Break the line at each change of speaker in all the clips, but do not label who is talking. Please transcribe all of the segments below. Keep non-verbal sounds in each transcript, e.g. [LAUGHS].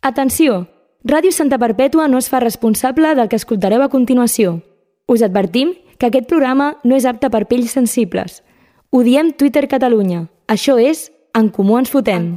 Atenció! Ràdio Santa Perpètua no es fa responsable del que escoltareu a continuació. Us advertim que aquest programa no és apte per pells sensibles. Ho diem Twitter Catalunya. Això és En Comú Ens Fotem.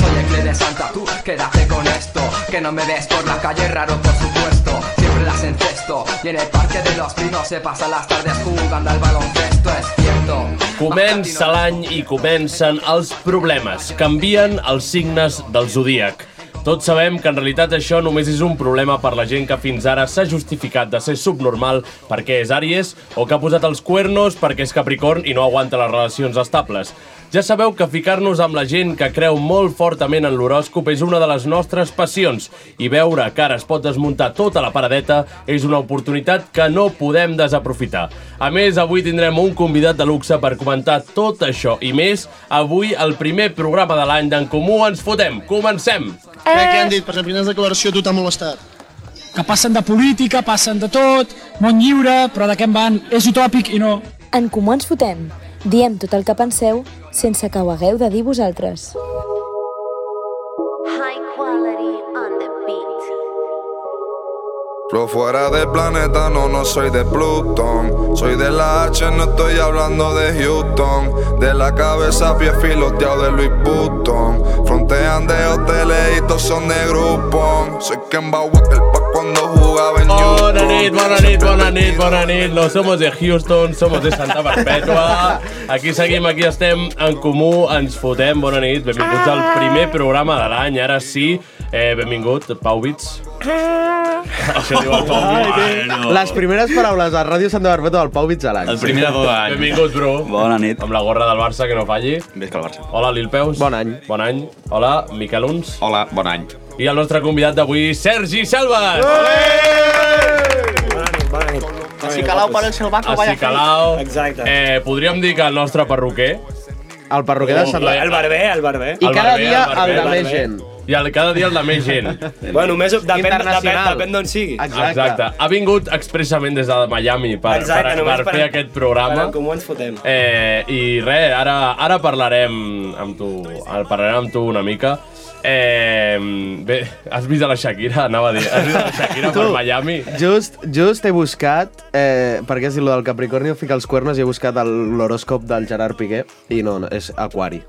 Soy el Cle de Santa, tú quédate con esto. Que no me ves por la calle, raro por supuesto. Siempre las encesto. Y en el parque de los pinos se pasan las tardes jugando al baloncesto, es cierto.
Comença l'any i comencen els problemes. Canvien els signes del zodíac. Tots sabem que en realitat això només és un problema per la gent que fins ara s'ha justificat de ser subnormal perquè és àries o que ha posat els cuernos perquè és capricorn i no aguanta les relacions estables. Ja sabeu que ficar-nos amb la gent que creu molt fortament en l'horòscop és una de les nostres passions i veure que ara es pot desmuntar tota la paradeta és una oportunitat que no podem desaprofitar. A més, avui tindrem un convidat de luxe per comentar tot això i més avui el primer programa de l'any d'en Comú Ens Fotem. Comencem!
Eh... Què han dit? Per exemple, quina declaració a tu t'ha molestat?
que passen de política, passen de tot, món lliure, però de què en van? És utòpic i no.
En Comú ens fotem. Diem tot el que penseu sense que ho hagueu de dir vosaltres.
High quality on the beat.
Yo fuera del planeta, no, no soy de Plutón. Soy de la H, no estoy hablando de Houston. De la cabeza, pie filoteado de Luis Vuitton. Frontean de hoteles y todos son de grupón. Soy Ken Bauer, el pa' cuando jugaba en
Bona nit, bona nit, bona nit, bona nit. No somos de Houston, somos de Santa Perpètua. Aquí seguim, aquí estem en comú, ens fotem. Bona nit, benvinguts al primer programa de l'any. Ara sí, eh, benvingut, Pau Bits. Això diu el Pau Bits.
Les primeres paraules a Ràdio Santa Barbeta del Pau Vits a l'any.
El primer de tot l'any.
Benvingut, bro.
Bona nit.
Amb la gorra del Barça, que no falli.
Més que el Barça.
Hola, Lil Peus.
Bon any.
Bon any. Hola, Miquel Uns.
Hola, bon any.
I el nostre convidat d'avui, Sergi
Eh,
Selves.
Si calau per el seu banco,
Així Calau.
Exacte.
Eh, podríem dir que el nostre perruquer,
El perruquer de Santa
El barber, eh? el barber.
I
el
cada
barber,
dia
el barber,
el de
el
més
barber.
gent.
i el, cada dia el de més gent.
Bueno, més depèn, depèn,
Internacional.
depèn d'on sigui.
Exacte.
Exacte. Ha vingut expressament des de Miami per, per, per,
només
per fer aquest
Per
programa.
en comú ens [LAUGHS] fotem.
Eh, I res, ara, ara parlarem amb tu, ara parlarem amb tu una mica. Eh, bé, has vist a la Shakira? Anava a dir, has vist a la
[LAUGHS]
Shakira per Miami?
Just, just he buscat, eh, perquè has dit lo del Capricornio, fica els cuernos, i he buscat el- l'horòscop del Gerard Piqué, i no, no és Aquari.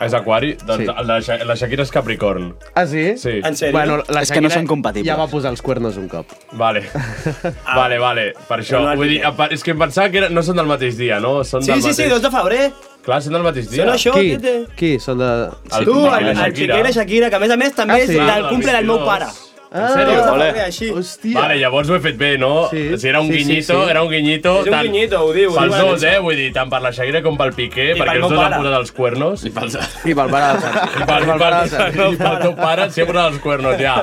És aquari? Doncs
Sí.
sí. la, Sha- la Shakira és Capricorn.
Ah, sí?
Sí.
En sèrio?
Bueno, la
És que no
Shakira
són compatibles.
Ja va posar els cuernos un cop.
Vale.
[LAUGHS]
Vale, vale. Per això,
Però Ah, no
vull dir,
Piqué.
a part- és que em pensava que era, no són del mateix dia, no? Són
sí,
del
sí,
mateix...
sí, 2 de febrer.
Clar, són del mateix dia.
Són això,
Qui?
tete.
Qui? Són de...
El,
Tu,
Piqué i
el,
la
el Piqué i la Shakira, que a més a més també
Ah,
és
sí?
Clar,
el cumple del meu
22.
pare.
Ah, En sèrio?
Dos de
Ole.
febrer, així.
Hòstia.
Vale, llavors ho he fet bé, no?
Sí.
Si era un
Sí, sí,
guiñito,
sí.
era un guiñito...
És un
tant-
guiñito, ho diu, ho
Pels
diuen,
dos,
això.
eh? Vull dir, tant per la Shakira com pel Piqué,
pel
perquè
meu
els dos han
pare.
posat els cuernos. I pels...
I pel pare del
[LAUGHS]
Sergi.
I pel, pel,
pare del
pel,
Sergi.
pel teu pare s'hi ha posat els cuernos, ja.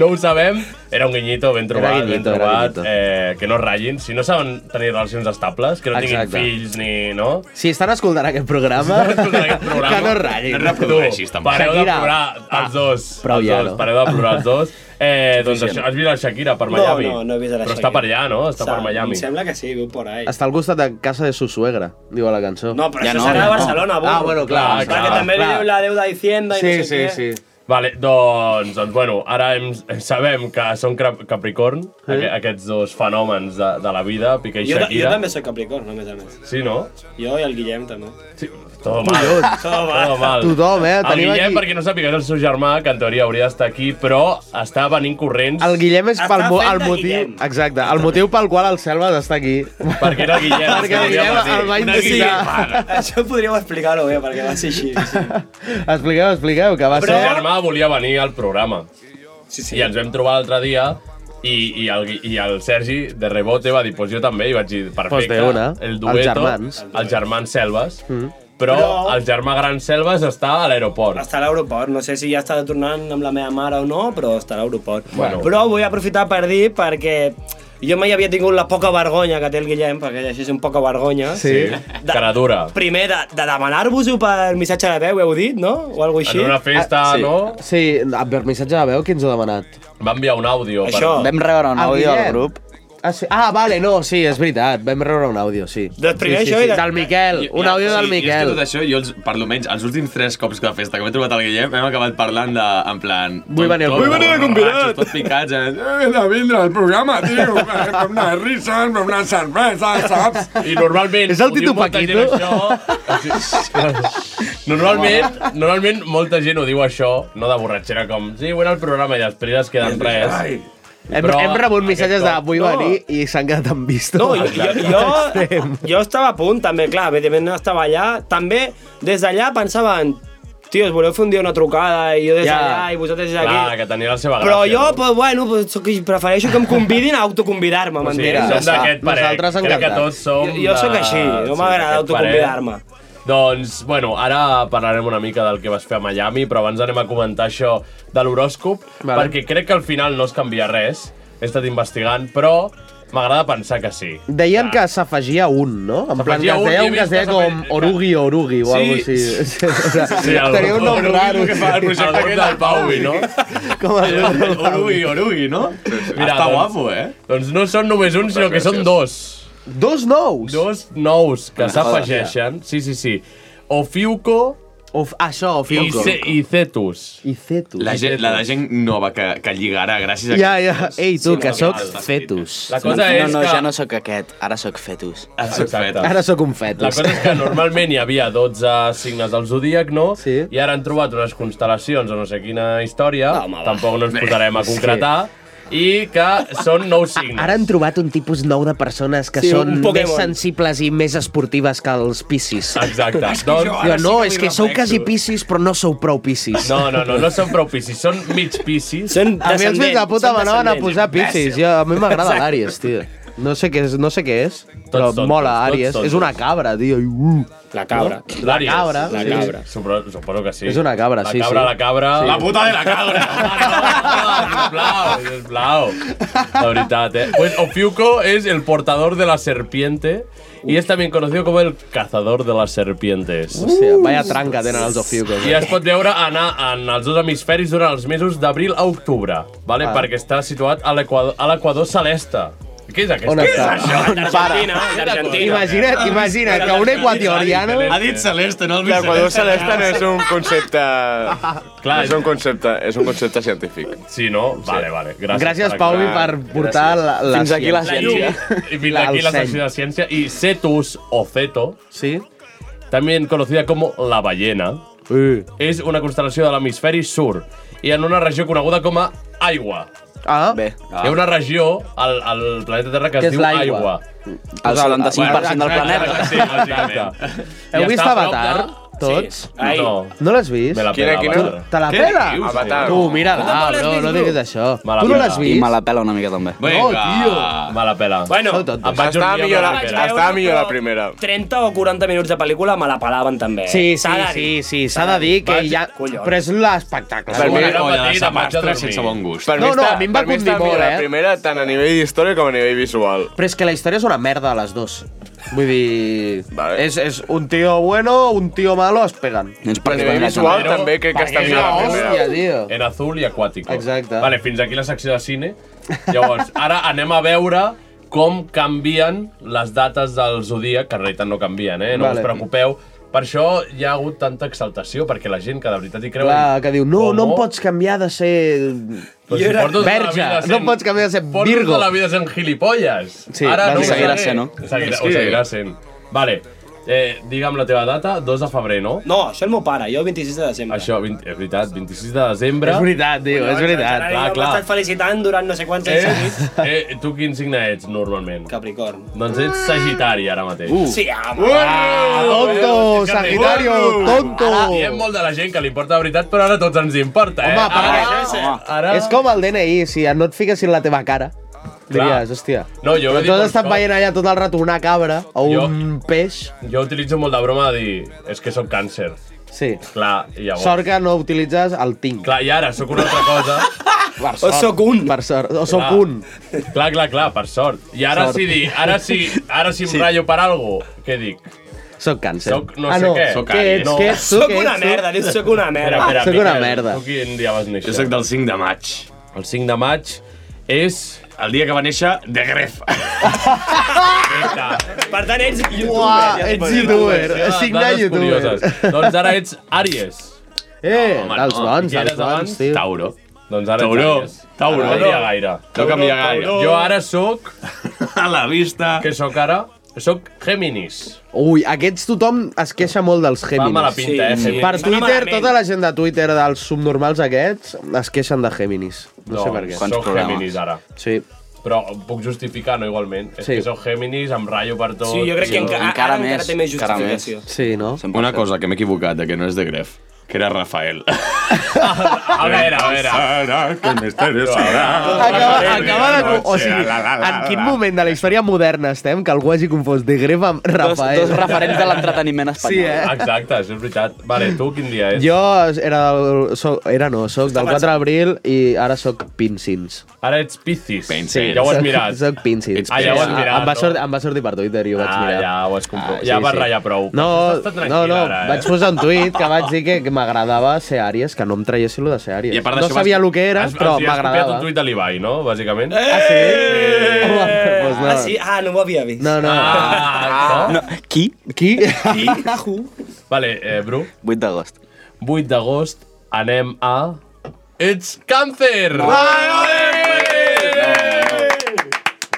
No ho sabem. Era un guiñito ben trobat,
guiñito,
ben
era
trobat.
guiñito.
Eh, que no ratllin. Si no saben tenir relacions estables, que no tinguin
Exacte.
fills ni... No?
Si estan escoltant aquest programa,
escoltant aquest programa,
que no ratllin.
no reprodueixis,
Tu,
tampoc.
Pareu de
Shakira,
plorar, els dos.
prou
els
ja,
dos,
no?
Pareu de plorar, els
[LAUGHS]
dos. Eh, doncs això, has vist la Shakira per
No,
Miami?
no, no he vist la
Però està
Shakira.
per allà, no? Està per
Sa-
Miami.
Em sembla que sí, viu por ahí.
Està al costat de casa de su suegra, diu a la cançó.
No, però
Ja
això
no, ja
serà a
no.
Barcelona, burro.
Ah, bueno, clar,
Clar,
Perquè
clar,
també li diu la deuda a Hacienda i
Sí,
no sé
sí,
què.
sí.
Vale, doncs, doncs bueno, ara hem, sabem que són crap- Capricorn, aqu aquests dos fenòmens de, de la vida, Piqué i
Jo, jo
Shakira.
també soc Capricorn, no més a més.
Sí, no?
Jo i el Guillem també.
Sí, todo mal. Todo mal. Todo mal.
Tothom, eh?
El
Tenim
Guillem,
aquí-
perquè no sàpiga, és el seu germà, que en teoria hauria d'estar aquí, però està venint corrents
El Guillem és
Està
pel mo
fent
el
de
motiu...
Guillem.
Exacte, el motiu pel qual el Selves està aquí.
perquè era el Guillem.
[LAUGHS] Perquè el Guillem el va
Una
investigar.
Guillem.
[LAUGHS]
Això podríeu explicar-ho bé, perquè va ser així. Sí,
expliqueu, expliqueu, que va
El seu
ser...
germà volia venir al programa
sí.
i ens vam trobar l'altre dia i, i, el, Gui- i el Sergi de rebote va dir, pues jo també, i vaig dir, perfecte,
de una,
el
els
dueto,
germans. Mm.
els germans Selves, però,
Però-
el germà gran Selves està a l'aeroport.
Està a l'aeroport, no sé si ja està tornant amb la meva mare o no, però està a l'aeroport.
Bueno.
Però vull aprofitar per dir perquè jo mai havia tingut la poca vergonya que té el Guillem, perquè això és un poca vergonya.
Sí.
De-
Cara dura.
Primer, de, de demanar-vos-ho per missatge de veu, heu dit, no? O alguna
En
així.
una festa,
Ah, sí.
no?
Sí, per missatge de veu, qui ens ho ha demanat?
Va enviar un àudio.
Això.
Vam rebre un
El
àudio al
Guillem.
grup
Ah, sí. ah, vale, no, sí, és veritat. Vam rebre un àudio, sí.
Del Doncs primer
sí, sí,
això
sí.
i de-
Del Miquel, un àudio del
Jo és que
Miquel.
tot això, jo, els, per lo menys, els últims tres cops de festa que m'he trobat al Guillem, hem acabat parlant de, en plan...
Vull venir al
tot,
programa.
tot borratxos, Tot picats, eh?
He de vindre al programa, tio, per unes risses, per una cervesa, saps?
I normalment... És el Tito Paquito? Normalment, normalment molta gent ho diu això, no de borratxera, com, sí, bueno, el programa i després es queden res.
Hem,
Però
hem rebut missatges de
aquest cop-
vull
No.
venir i s'han quedat en visto.
No, jo, jo, jo, jo estava a punt, també, clar, evidentment no estava allà. També, des d'allà pensaven, tios, voleu fer un dia una trucada, i jo des
Ja.
d'allà, i vosaltres des d'aquí.
Clar, que tenia la seva gràcia.
Però jo, pues, bueno, pues, sóc- prefereixo que em convidin a autoconvidar-me,
Sí,
m'entens?
som d'aquest parer. Crec que tots som...
Jo, jo sóc
de-
així, no
sí, d'aquest
m'agrada
parer.
autoconvidar-me.
Doncs, bueno, ara parlarem una mica del que vas fer a Miami, però abans anem a comentar això de l'horòscop,
Vale.
perquè crec que al final no es canvia res, he estat investigant, però m'agrada pensar que sí.
Deien que s'afegia un, no? En plan, que
S'afegia
es
un,
deia
he
un que es
vist
deia
que
com Orugi o Orugi o
Sí.
alguna cosa així. [LAUGHS] Sí, o sea,
el-
Tenia un nom
Orugi,
raro.
el que fa el projecte
sí.
aquest del Pauvi, no?
[LAUGHS] Com es diu?
Orugi, Orugi, no?
Està guapo, eh?
Doncs no són només un, sinó que són dos.
Dos nous?
Dos nous que
Ah,
s'afegeixen. Sí, sí, sí. Ofiuco...
Of, això,
I,
Ofiuco.
ce, I Cetus.
I Cetus.
La, gent, la de gent nova que, que lligarà gràcies a...
Ja, ja. Ei, tu,
Sí,
que
no,
sóc
no, no.
fetus.
La cosa és
no, no,
que-
ja no sóc aquest, ara sóc fetus.
Ara sóc fetus.
Ara sóc un fetus.
La cosa és que normalment hi havia 12 signes del zodíac, no? Sí. I ara han trobat unes constel·lacions o no sé quina història, no, tampoc no ens posarem a
Sí.
concretar, sí. i que són nou signes.
Ara han trobat un tipus nou de persones que
Sí,
sí,
un
són més
Pokémon.
sensibles i més esportives que els piscis.
Exacte. És que jo
Doncs,
ara
jo,
sí
no,
que
és
m'hi
que sou
reflexo.
quasi piscis, però no sou prou piscis.
No, no, no, no són prou piscis, són mig piscis. Són
A mi els fills em de puta m'anaven a posar piscis. Jo, a mi m'agrada l'Àries, tio. No sé què és, no sé què és però
tots,
mola
tots,
Àries.
tots,
és una cabra, tio. i, Uh.
La
cabra.
No? La cabra.
La
sí.
cabra. Suposo, suposo que sí.
És una cabra, sí,
La cabra,
sí.
la cabra...
Sí. La puta
de la
[LAUGHS]
cabra!
Sisplau, sisplau. La veritat, eh? Pues Ofiuco es el portador de la serpiente y es también conocido como el cazador de las serpientes.
Hòstia, vaya tranca tenen els eh. ofiucos.
I es pot veure anar en els dos hemisferis durant els mesos d'abril a octubre, vale?
Ah.
perquè està situat a l'equador a l'equador celeste. Què és aquest?
On
Què és
està?
això?
On D'Argentina, para? d'Argentina. Imagina't,
Ah,
imagina't que un equatoriano-
Ha dit celeste, no el
viceversa.
L'equador celeste no és un concepte... Clar, és un concepte, és un concepte científic.
Sí, no? Vale, vale. Gràcies,
Gràcies, Pauvi, per portar la, la
Fins aquí la
ciència. [LAUGHS]
I fins aquí la
El seny.
secció de ciència. I Cetus, o Ceto,
sí.
también conocida como la ballena, és una constel·lació de l'hemisferi sur i en una regió coneguda com a aigua.
Ah.
Bé.
Hi ha una regió al, al planeta Terra que
Què
es
és
diu
l'aigua?
aigua.
Ah,
El 75% del
Exacte,
planeta.
Sí, exacte.
Heu
I
vist
està a prop
Avatar? Tots?
Ai. No.
No l'has vist?
Me la Quina, pela, quina?
Tu- Te la
Què
pela?
dius? Avatar.
Tu, mira-la,
Tu tampoc l'has
bro,
vist,
no
tu?
diguis això.
Me la
Tu no
pela.
l'has
I
vist?
me la pela una mica també.
Vinga.
Me la pela.
Bueno,
Sou
em vaig
Estava
dormir
millor
amb
la-
la vaig
estava
veure,
millor la
però
primera.
30 o 40 minuts de pel·lícula me la pelaven també. eh?
Sí, sí,
S'ha de dir.
sí, sí, s'ha de dir que hi ha...
Collons.
Però és l'espectacle.
Per mi,
Bueno,
olla de
me'n vaig a
sapastre
dormir.
sense bon gust.
No, no, a mi em va
per mi
condir
està millor
molt,
La
eh?
primera, tant a nivell d'història com a nivell visual.
Però és que la història és una merda, les dues. Vull dir... És, és un tio bueno, un tio malo, es peguen.
Doncs
Perquè
A nivell
Planeta
visual
Marero,
també crec que està
perquè
millor la
era
primera.
hòstia,
tio.
En azul i aquàtico.
Exacte.
Vale, fins aquí la secció de cine. Llavors, ara anem a veure com canvien les dates del Zodíac, que en realitat no canvien, eh? No
Vale.
us preocupeu. Per això hi ha hagut tanta exaltació, perquè la gent que de veritat hi creu...
Clar, que diu, no, no em pots canviar de ser...
Però si porto tota la
verge,
vida
no
sent-
em pots canviar de ser
Porto
virgo.
tota la vida sent gilipolles.
Sí,
ara
vas
no
dir.
ho
Seguirà
seré.
sent, no?
Seguirà,
Sí.
ho seguirà sent. Vale, eh, digue'm la teva data, 2 de febrer, no?
No, això el meu pare, jo el 26 de desembre.
Això, 20, és veritat, 26 de desembre...
És veritat, tio, és veritat.
Clar,
M'ha
clar.
estat felicitant durant no sé quants anys. seguits.
Ets, eh, tu quin signe ets, normalment?
Capricorn.
Doncs ets Sagitari, ara mateix.
Uh. Sí, home.
Ah,
tonto,
que arriba.
Sagitario, tonto.
Ara diem molt de la gent que li importa de veritat, però ara a tots ens importa, eh?
Home, perquè-
ara, ara...
És com el DNI, si no et fiquessin la teva cara. Diries, hòstia.
No, jo ho he
Però
dit
tu has
molts
estat
cops.
veient allà tot el rato una cabra o un peix.
Jo utilitzo molt de broma de dir, és que sóc càncer.
Sí.
Clar, i llavors...
Sort que no utilitzes el tinc.
Clar, i ara sóc una altra cosa.
Per sort.
sóc
un. Per sort. O sóc
Clar.
un.
Clar, clar, clar, per sort. I ara
Sort.
si dic, ara si, ara si em ratllo per algo, què dic?
Sóc càncer. Ah,
Soc no sé què.
Què ets,
no.
què ets, tu, què ets, tu?
Espera, espera,
Sóc una
Miquel,
merda.
Tu quin dia vas néixer?
Jo soc
del 5 de maig. El 5 de maig és el dia que va néixer de
[LAUGHS]
Gref.
Per tant, ets youtuber.
Uah,
ja t'ho
ets
dic.
youtuber. Signar
Dades
youtuber. [LAUGHS]
curioses. Doncs ara ets Àries.
Eh,
Home,
dels
no,
bons,
qui eres
dels bons,
abans?
tio.
Tauro. Doncs ara ets
Tauró,
Àries.
Tauró.
No canvia gaire.
No canvia gaire.
Tauró. Jo ara sóc... A la vista. Què sóc ara? Sóc Géminis.
Ui, aquests tothom es queixa molt dels Géminis.
mala pinta, eh, Géminis.
Per
Van
Twitter,
malament.
tota la gent de Twitter dels subnormals aquests es queixen de Géminis. No, sé per què.
Sóc Géminis ara.
Sí.
Però ho puc justificar, no igualment. És
Sí.
que sóc Géminis, em ratllo per tot.
Sí, jo crec que enca- ara Encara encara més, té més encara justificació.
Sí, no?
Una cosa que m'he equivocat, de que no és de Gref, que era Rafael.
[LAUGHS] A veure, a veure.
Serà que misterio
Acaba, acaba, de...
noche,
O sigui,
la, la, la,
en quin
la.
moment de la història moderna estem que algú hagi confós de Gref amb Rafael?
Dos, dos referents de l'entreteniment
[LAUGHS]
espanyol.
Sí, eh?
Exacte, això és veritat. Vale, tu quin dia és?
Jo era, del, soc, era no, soc del 4 d'abril i ara soc Pinsins.
Ara ets Piscis. Sí, ja ho has
Soc-
mirat.
Soc Pinsins.
Ah, ja ho has mirat,
Em va,
no?
sortir, em va sortir per Twitter i ho vaig
Ah,
mirar.
ja ho has compro- ja vas ratllar prou.
No,
Has estat
no,
tranquil
no,
ara, eh?
vaig posar un tuit que vaig dir que que m'agradava ser Àries, que no em traiessin lo de ser Àries.
I a part
no
d'això
sabia
vas-
el que era,
has-
però
o sigui, has copiat
m'agradava.
un tuit de l'Ibai, no? Bàsicament.
Ah,
sí?
Eh,
Pues no.
Ah, sí? Ah, no m'ho havia vist.
No, no.
Ah,
no. Qui?
Qui?
Qui? Vale, eh, Bru.
8 d'agost.
8 d'agost anem a... Ets càncer! No.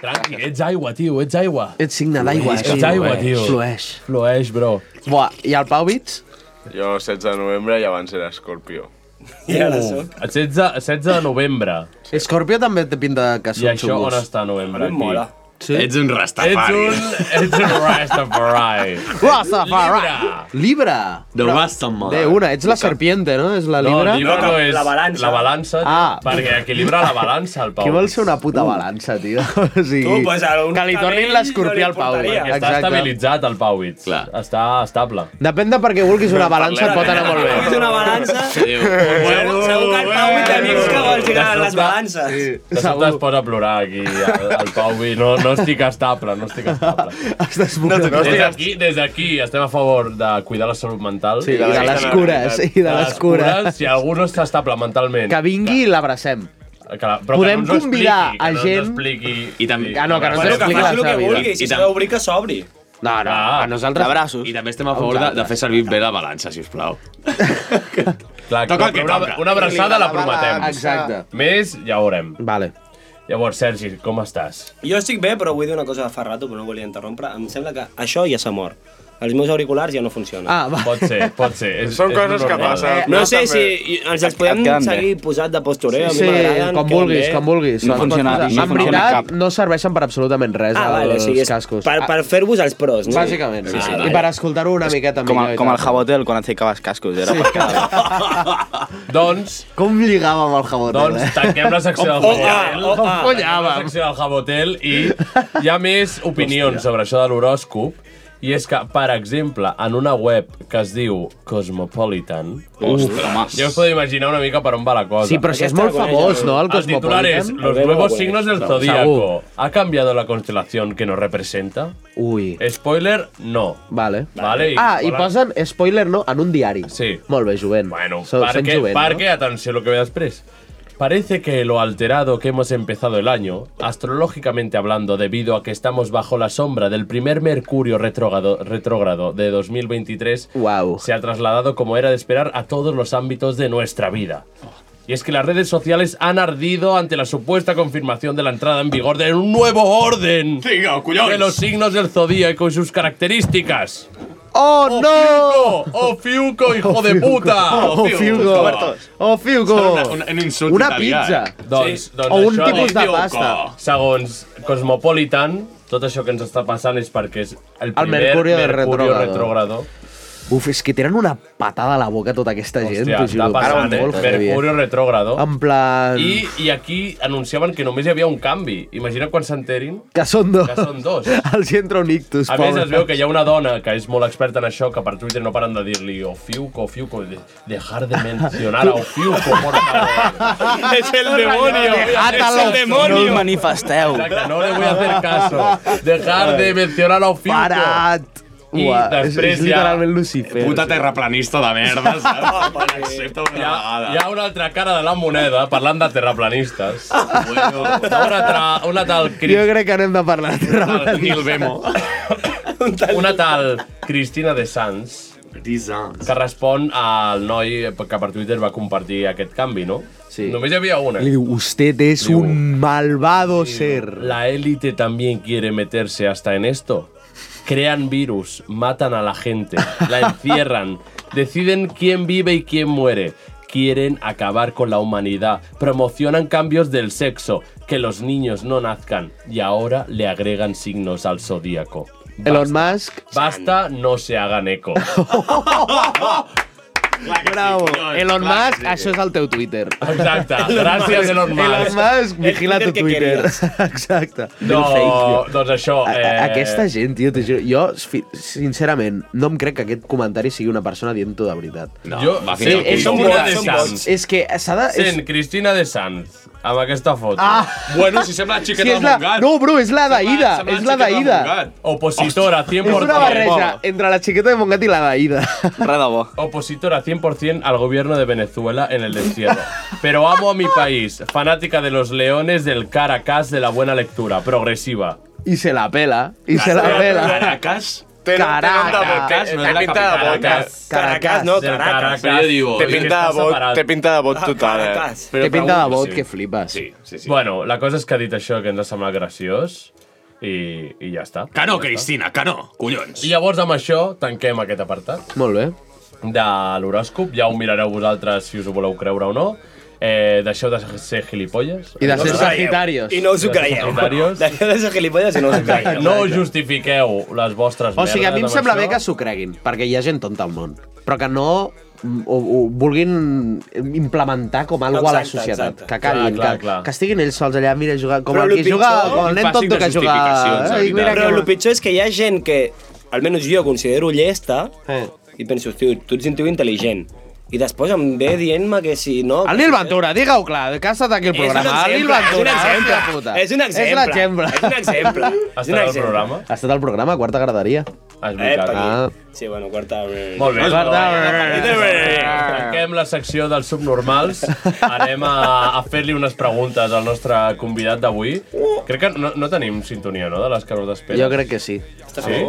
Tranqui, ets aigua, tio, ets aigua.
Ets signe d'aigua.
Ets
sí.
aigua, tio.
Flueix.
Flueix, bro.
Buah, i el Pau Vits?
Jo 16 de novembre i abans era escorpió.
I ara soc. 16, 16 de novembre.
Escorpió també té pinta que
I
són
això on està, novembre? Aquí.
mola. Sí?
Ets un rastafari.
Ets un, ets un Rastafari.
Rastafari. Libra.
The Rastafari.
De una, ets la serpiente, no? És la Libra?
No, Libra no és... La balança.
Ah.
Perquè equilibra la balança, el Pau.
Qui vol ser una puta balança, tio? O sigui,
Tu, pues, a un
que li
cabell
tornin l'escorpió al Pau.
Perquè està estabilitzat el Pau Itz. Està estable.
Depèn de perquè vulguis una balança, et pot anar molt bé.
Una balança.
Segur,
segur que el Pau i amics que vols
De
girar
sobte-
les balances.
De sobte es posa a plorar aquí, el, el Pau i no, no estic estable, no estic estable.
Estàs
des d'aquí, des d'aquí estem a favor de cuidar la salut mental.
Sí, i de les cures, i de les cures.
Si algú no està estable mentalment,
Que vingui i l'abracem.
que la, però
Podem
que no ens ho
convidar
expliqui, que
a gent-
No ens expliqui,
I també...
Ah, no, que no ens
Bueno, que
expliqui la Ah.
faci el
seva
que
vida.
vulgui. Si s'ha d'obrir, que s'obri.
No, no, a nosaltres...
I també estem a
Ah,
favor de, de fer servir bé la balança, si us plau.
Clar,
Toca el
però
que
una,
toca.
una abraçada la prometem.
Exacte.
Més, ja ho veurem.
Vale.
Llavors, Sergi, com estàs?
Jo estic bé, però vull dir una cosa de fa rato, però no volia interrompre. Em sembla que això ja s'ha mort. Els meus auriculars ja no funcionen.
Ah, va.
Pot ser, pot ser. És,
Són
és
coses que
normal.
passen.
No, sé si ens els podem
et queden bé.
seguir posat de postureo.
Sí, com vulguis, com vulguis.
No
Em
funciona,
pots posar-
no
en
funciona
veritat,
cap.
no serveixen per absolutament res
Ah, vale,
els
sí, és
cascos. Ah.
per, per fer-vos els pros, no?
Bàsicament,
Ah,
sí, sí. I per escoltar-ho una miqueta
Com,
millor
el,
i
com el
tal.
Jabotel quan et ficaves cascos. Era
[LAUGHS]
per quedar bé.
Doncs...
Com lligàvem el Jabotel,
Doncs
eh? [LAUGHS]
tanquem la secció
Oh,
del
Oh,
Com
ah,
ah,
follàvem,
Jabotel.
com
Tanquem la secció del Jabotel i hi ha més opinions sobre això de l'horòscop. I és que, per exemple, en una web que es diu Cosmopolitan...
Ostres.
Ja us podeu imaginar una mica per on va la cosa.
Sí, però si és Aquesta molt la conec, famós, no, el
titular
Cosmopolitan?
és Los
Algú la
nuevos
coneix.
signos del
No,
zodíaco.
segur.
¿Ha cambiado la constelación que nos representa?
Ui.
Spoiler, no.
Vale.
Eh. Vale, i
ah, i
volen-
posen, spoiler no, en un diari.
Sí.
Molt bé, jovent.
Bueno,
So, sent
Parque,
jovent,
parque, atención lo que ve después. Parece que lo alterado que hemos empezado el año, astrológicamente hablando, debido a que estamos bajo la sombra del primer Mercurio retrógrado, retrógrado de 2023, se ha trasladado como era de esperar a todos los ámbitos de nuestra vida. Y es que las redes sociales han ardido ante la supuesta confirmación de la entrada en vigor de un nuevo orden de los signos del zodíaco y sus características.
no? Oh, no!
¡Oh, Fiuco, hijo de
Fiuco.
puta!
Oh, Fiuco! Oh, Fiuco! Una pizza!
Doncs, doncs
o un
això-
tipus de pasta.
Segons Cosmopolitan, tot això que ens està passant és perquè és el
El
primer
Mercurio de retrógrado.
retrógrado.
Uf, és que tenen una patada a la boca tota aquesta gent,
Hòstia,
t'ho
està
juro.
passant, eh?
Molt heavy,
Mercurio retrógrado.
En plan...
I, I aquí anunciaven que només hi havia un canvi. Imagina quan s'enterin.
Que són dos.
Que són
[LAUGHS]
dos.
Els hi entra un ictus,
A més,
pobre.
es veu que hi ha una dona que és molt experta en això, que per Twitter no paren de dir-li o Fiuco, Fiuco, de, dejar de mencionar a Fiuco, por favor.
Es el demonio,
Dejadlo,
es el demonio.
No us manifesteu.
Exacte, no le voy a hacer caso. Dejar de mencionar a Fiuco.
Parat!
I
Uah,
després
és, és
ja...
literalment Lucifer.
Puta terraplanista de merda,
[LAUGHS]
saps? Accepta una vegada.
Hi ha una altra cara de la moneda, parlant de terraplanistes. Bueno, una, altra, una tal Cris...
Jo crec que n'hem de parlar.
Una tal Nil Bemo. Una tal Cristina de Sanz. Que respon al noi que per Twitter va compartir aquest canvi, no? Sí. Només hi havia una.
Li diu, usted es un malvado ser.
La élite también quiere meterse hasta en esto. Crean virus, matan a la gente, la encierran, deciden quién vive y quién muere. Quieren acabar con la humanidad, promocionan cambios del sexo, que los niños no nazcan y ahora le agregan signos al zodíaco.
Elon Musk...
Basta, no se hagan eco.
Bravo. Elon Musk, això és el teu Twitter.
Exacte. Gràcies, Elon Musk.
Elon Musk, vigila tu Twitter. [LAUGHS] Exacte.
No, doncs això...
A-
Eh...
a- Aquesta gent, tio, t'ho juro, jo, fi- sincerament, no em crec que aquest comentari sigui una persona dient-ho de veritat.
No, Jo- va, sí,
és,
són
un-
bots, són
és,
bots.
és que s'ha de... És,
Sent Cristina de Sanz, amb aquesta foto.
Ah.
Bueno, si
[LAUGHS]
sembla la
Sí, és la... No, bro, és la d'Aida. És la d'Aida.
Opositora, 100%.
És una barreja entre la xiqueta de Montgat i la d'Aida.
Opositora 100% al gobierno de Venezuela en el desierto. Pero amo a mi país, fanática de los leones del Caracas de la buena lectura, progresiva.
I se la pela. I se la pela.
Caracas.
Caracas.
Te pinta de bot.
Caracas, no,
Del
Caracas.
Però jo digo,
Te
Té
pinta
pinta
de
de
bot,
bot, té pinta de bot
Ah,
total, eh?
Té pinta de bot que flipes.
Sí, sí, sí. Bueno, la cosa és que ha dit això que ens ha semblat graciós i, i ja està.
Que no, Cristina, que no, collons.
I llavors amb això tanquem aquest apartat
Molt bé.
de l'horòscop. Ja ho mirareu vosaltres si us ho voleu creure o no. Eh, deixeu de ser gilipolles.
I de ser
No us
sagitarios.
creieu. De ser sagitarios.
Deixeu de ser gilipolles i no us ho creieu.
No justifiqueu les vostres
O sigui, a mi em
merdes amb
sembla
això.
bé que s'ho creguin, perquè hi ha gent tonta al món, però que no ho, ho vulguin implementar com alguna a la
Exacte,
societat.
exacte.
Que callin,
Clar, clar,
que,
clar.
que estiguin ells sols allà, mira, jugar, com
Però
el
lo
que juga,
pitjor-
com el nen tonto que juga. Ai, mira
Però
que...
el pitjor és que hi ha gent que, almenys jo, considero llesta,
Eh.
i penso, tio, tu ets un tio intel·ligent. I després em ve dient-me que si no...
El Nil Ventura, digue-ho clar, que ha estat aquí el programa. El Nil Ventura, hòstia puta.
És un exemple.
És l'exemple.
És un
[LAUGHS]
exemple. És un exemple.
Ha estat el programa, quarta graderia.
Has
veritat.
Ah,
Sí, bueno, eh, quarta...
Molt bé.
Quarta-
Tanquem la secció dels subnormals. Anem a, a fer-li unes preguntes al nostre convidat d'avui. Crec que no, no tenim sintonia, no?, de les que no t'esperes.
jo crec que sí.
Sí?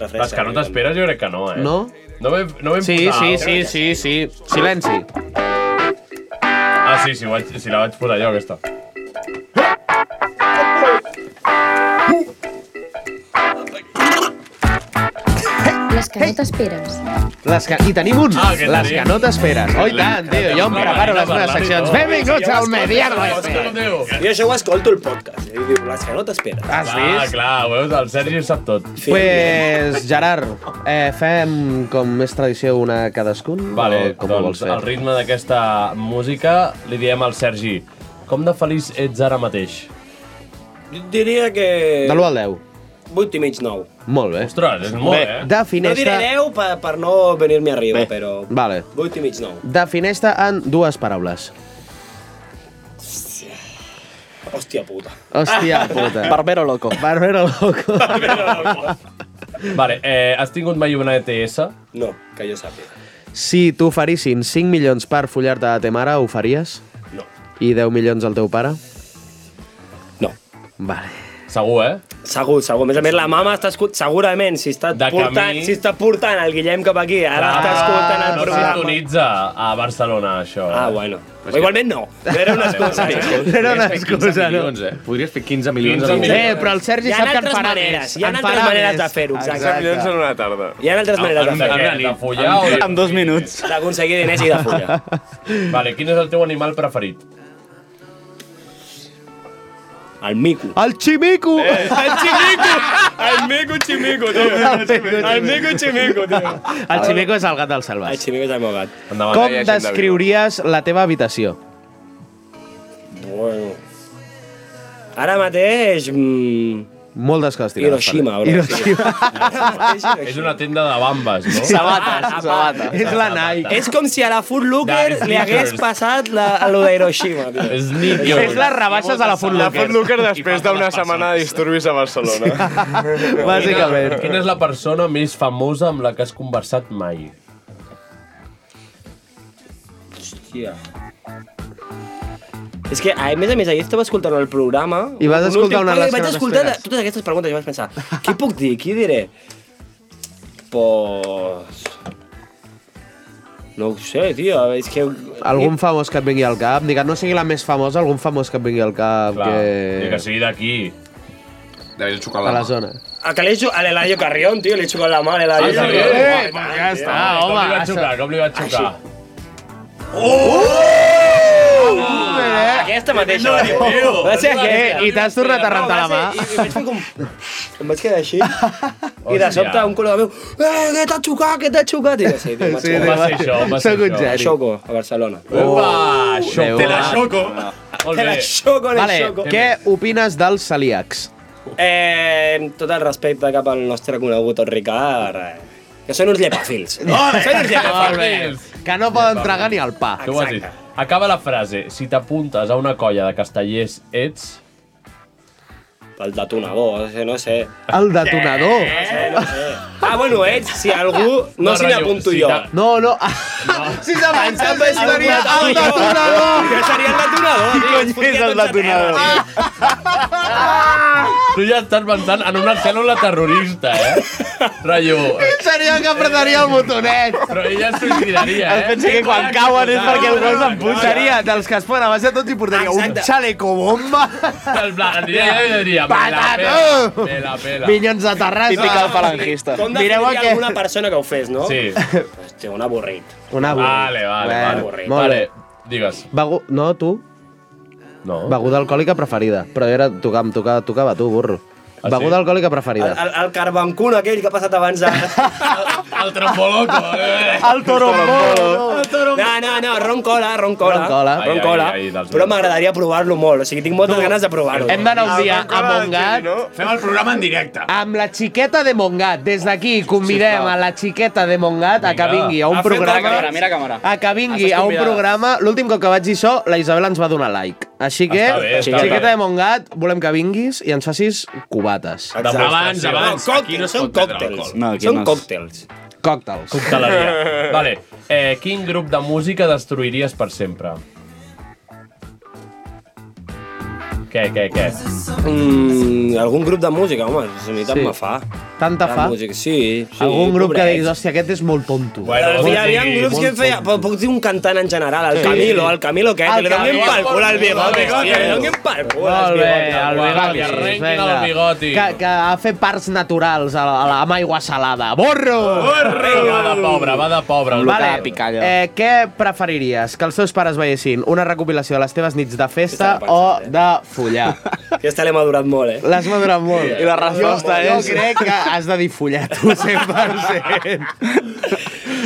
Les que no t'esperes jo crec que no, eh?
No?
No vam, no vam
Sí,
posar...
sí, sí, sí, sí. Silenci.
Ah, sí, sí, ho vaig, sí, la vaig posar jo, aquesta.
Les que no t'esperes.
Les que... I tenim un.
Ah, que tenim.
les que no t'esperes. Oh, i tant, tio, jo em preparo les meves seccions. Benvinguts al Mediano Este.
Jo això ho escolto el podcast. I diu, les que no t'esperes.
Has
Ah,
vist?
clar, ho veus, el Sergi ho sap tot.
Pues, Gerard, eh, fem com és tradició una a cadascun?
Vale,
o com ho vols
doncs,
fer?
al ritme d'aquesta música li diem al Sergi com de feliç ets ara mateix?
Jo Diria que...
De l'1 al 10.
8 i mig, 9.
Molt bé.
Ostres, és molt, eh?
No
Defineix-te...
diré 10 per, per no venir-me arriba, però...
Vale.
8 i mig, 9.
Defineix-te en dues paraules.
Hòstia puta.
Hòstia
[LAUGHS]
puta.
Barbero loco.
Barbero loco.
Vale, eh, has tingut mai una ETS?
No, que jo sàpiga.
Si t'oferissin 5 milions per follar-te a ta mare, ho faries?
No.
I 10 milions al teu pare?
No.
Vale.
Segur, eh?
Segur, segur. A més a més, la mama està escut... Segurament, si està, portant,
camí.
si està portant el Guillem cap aquí, ara està escoltant el
Ah, no
programa.
sintonitza a Barcelona, això.
Ah, bueno. Però igualment no. Era una excusa.
Era una
excusa, no? Milions, eh? Podries fer 15 milions. 15
15 milions.
Eh, però el Sergi
Hi ha
sap que en
altres
farà
maneres,
més.
hi ha
En
altres
farà
maneres
més.
de fer-ho, exacte.
15 milions en una tarda.
Hi ha altres maneres de fer-ho.
De follar o...
Amb
dos minuts.
D'aconseguir diners i de follar.
Vale, quin és el teu animal preferit?
El mico.
El ximico!
Eh, el ximico! El mico ximico, tio. El mico ximico, tio.
El ximico és el gat del
eh. El
Salvas.
ximico és el meu gat.
Com descriuries la teva habitació?
Bueno. Ara mateix... Mm,
Moltes coses tirades.
Hiroshima,
per
bro.
allà. Hiroshima.
És una tenda de bambes, no?
Sabates, sabates.
[LAUGHS] És la Nike.
És com si a la Foot Looker
De
li hagués
sneakers.
passat la, a lo d'Hiroshima. tio.
És les rebaixes a la Foot Locker. La Foot Locker després d'una setmana de disturbis a Barcelona.
Bàsicament.
Quina, quina és la persona més famosa amb la que has conversat mai?
Hòstia. És que, a més a més, ahir estava escoltant el programa...
I vas
un
escoltar
últim-
una
Ai,
de les que
Vaig
no
escoltar
t'esperes.
totes aquestes preguntes i vaig pensar, què puc dir, què diré? Pues... No ho sé, tio, és que...
Algun famós que et vingui al cap? Digue, no sigui la més famosa, algun famós que et vingui al cap.
Clar,
que...
ni que
sigui d'aquí. Ah,
David
A la zona.
A que l'he xucat a l'Eladio Carrión, tio, l'he xucat la mà a
Ah,
l'Eladio Carrión.
sí?
Guai,
Eh,
guai,
ja
tio.
està,
Com
home,
li vaig
això-
xucar,
com li vaig xucar?
Ah, Aquesta mateixa. Va ser aquesta.
I t'has tornat a rentar eh. la mà.
Em vaig quedar així. I de sobte un col·lega meu, eh, què t'ha xucat, què t'ha xucat? I jo, sí, tio,
Sí,
macho.
tio, va- Sóc un geni.
A Xoco, a Barcelona.
Upa, Xoco. Déu. Te la
Xoco.
Te la Xoco, en el
Vale,
Xoco.
què opines dels celíacs?
Eh, tot el respecte cap al nostre conegut, el Ricard. eh, Que són uns
[LAUGHS]
llepafils. Són uns llepafils.
Que no poden tragar ni el pa.
Tu ho has dit. Acaba la frase. Si t'apuntes a una colla de castellers, ets...
El detonador, no sé.
El detonador.
Ah, bueno, ets, si algú... No,
No,
si
rotllo,
m'apunto
si
jo.
ta- No, no. [LAUGHS] Si s'avança el seria el detonador.
Jo seria el detonador. Qui cony és el detonador?
Tu ja estàs pensant en una cèl·lula terrorista, eh? Rayo.
Seria el que apretaria el botonet.
Però ella es suïcidaria, eh?
Es pensa que quan cauen és perquè el gos em puja. Seria dels que es poden a base de tot i portaria un xaleco bomba.
El blanc, aniria allà i diria... Me la pela,
Patató!
me la pela.
Minyons de Terrassa.
Com
Mireu
definiria
aquest.
alguna persona que ho fes, no?
[LAUGHS]
Sí.
Hòstia, un avorrit.
Un avorrit.
Vale, vale,
Bueno,
vale.
molt
Vale,
bé.
digues.
Begu... No, tu?
No.
Beguda alcohòlica preferida. Però era tocar, em tocava, tocava tu, burro.
Ah,
Beguda
sí?
alcohòlica
El,
preferida.
el, el carbancún aquell que ha passat abans
[LAUGHS]
de...
El eh? tromboloco.
El torombolo.
No, no, no, ron cola, ron cola.
Ron cola.
Ron
Ai,
cola.
ai, ai, dels
Però m'agradaria provar-lo molt, o sigui, tinc moltes ganes de provar-lo.
Hem d'anar un dia a Montgat.
Fem el programa en directe.
Amb la xiqueta de Montgat. Des d'aquí convidem
Sisplau.
a la xiqueta de Montgat a que
Vinga.
vingui a un
A fer
programa...
tota càmera, mira càmera.
A que vingui
Estàs
a un
convidada.
programa... L'últim cop que vaig dir això, la Isabel ens va donar like. Així que,
Està bé, està
xiqueta
bé.
de Montgat, volem que vinguis i ens facis cubates.
Exacte. Abans, abans.
No,
Aquí no es
són
pot vendre
còctels.
alcohol. No, aquí
són
no es-
còctels.
Còctels.
[LAUGHS]
Cocteleria. Vale. Eh, quin grup de música destruiries per sempre? Què, què, què?
Mm, algun grup de música, home, si a mi tant
Sí.
me fa.
Tanta
La
fa?
Música, sí, sí.
Algun grup que
pobrets.
diguis, hòstia, aquest és molt tonto.
Bueno, hi havia grups que feia... Puc puc dir un cantant en general, el
Sí.
Camilo, el Camilo aquest,
El
que li donem
Camilo.
pel cul al bigoti,
El
hòstia, li
Bigoti.
donem pel cul al
Molt bé, el
bigoti.
bigoti. vinga. Que, que ha fet parts naturals a la, a la amb aigua salada. Borro!
Va de pobre, va de pobre. el Lucas.
Eh, què preferiries? Que els teus pares veiessin una recopilació de les teves nits de festa o de
[LAUGHS]
follar?
Aquesta l'hem adorat molt, eh?
L'has madurat molt.
I la resposta
jo,
és-
Jo crec que has de dir follar
[LAUGHS]
tu 100%.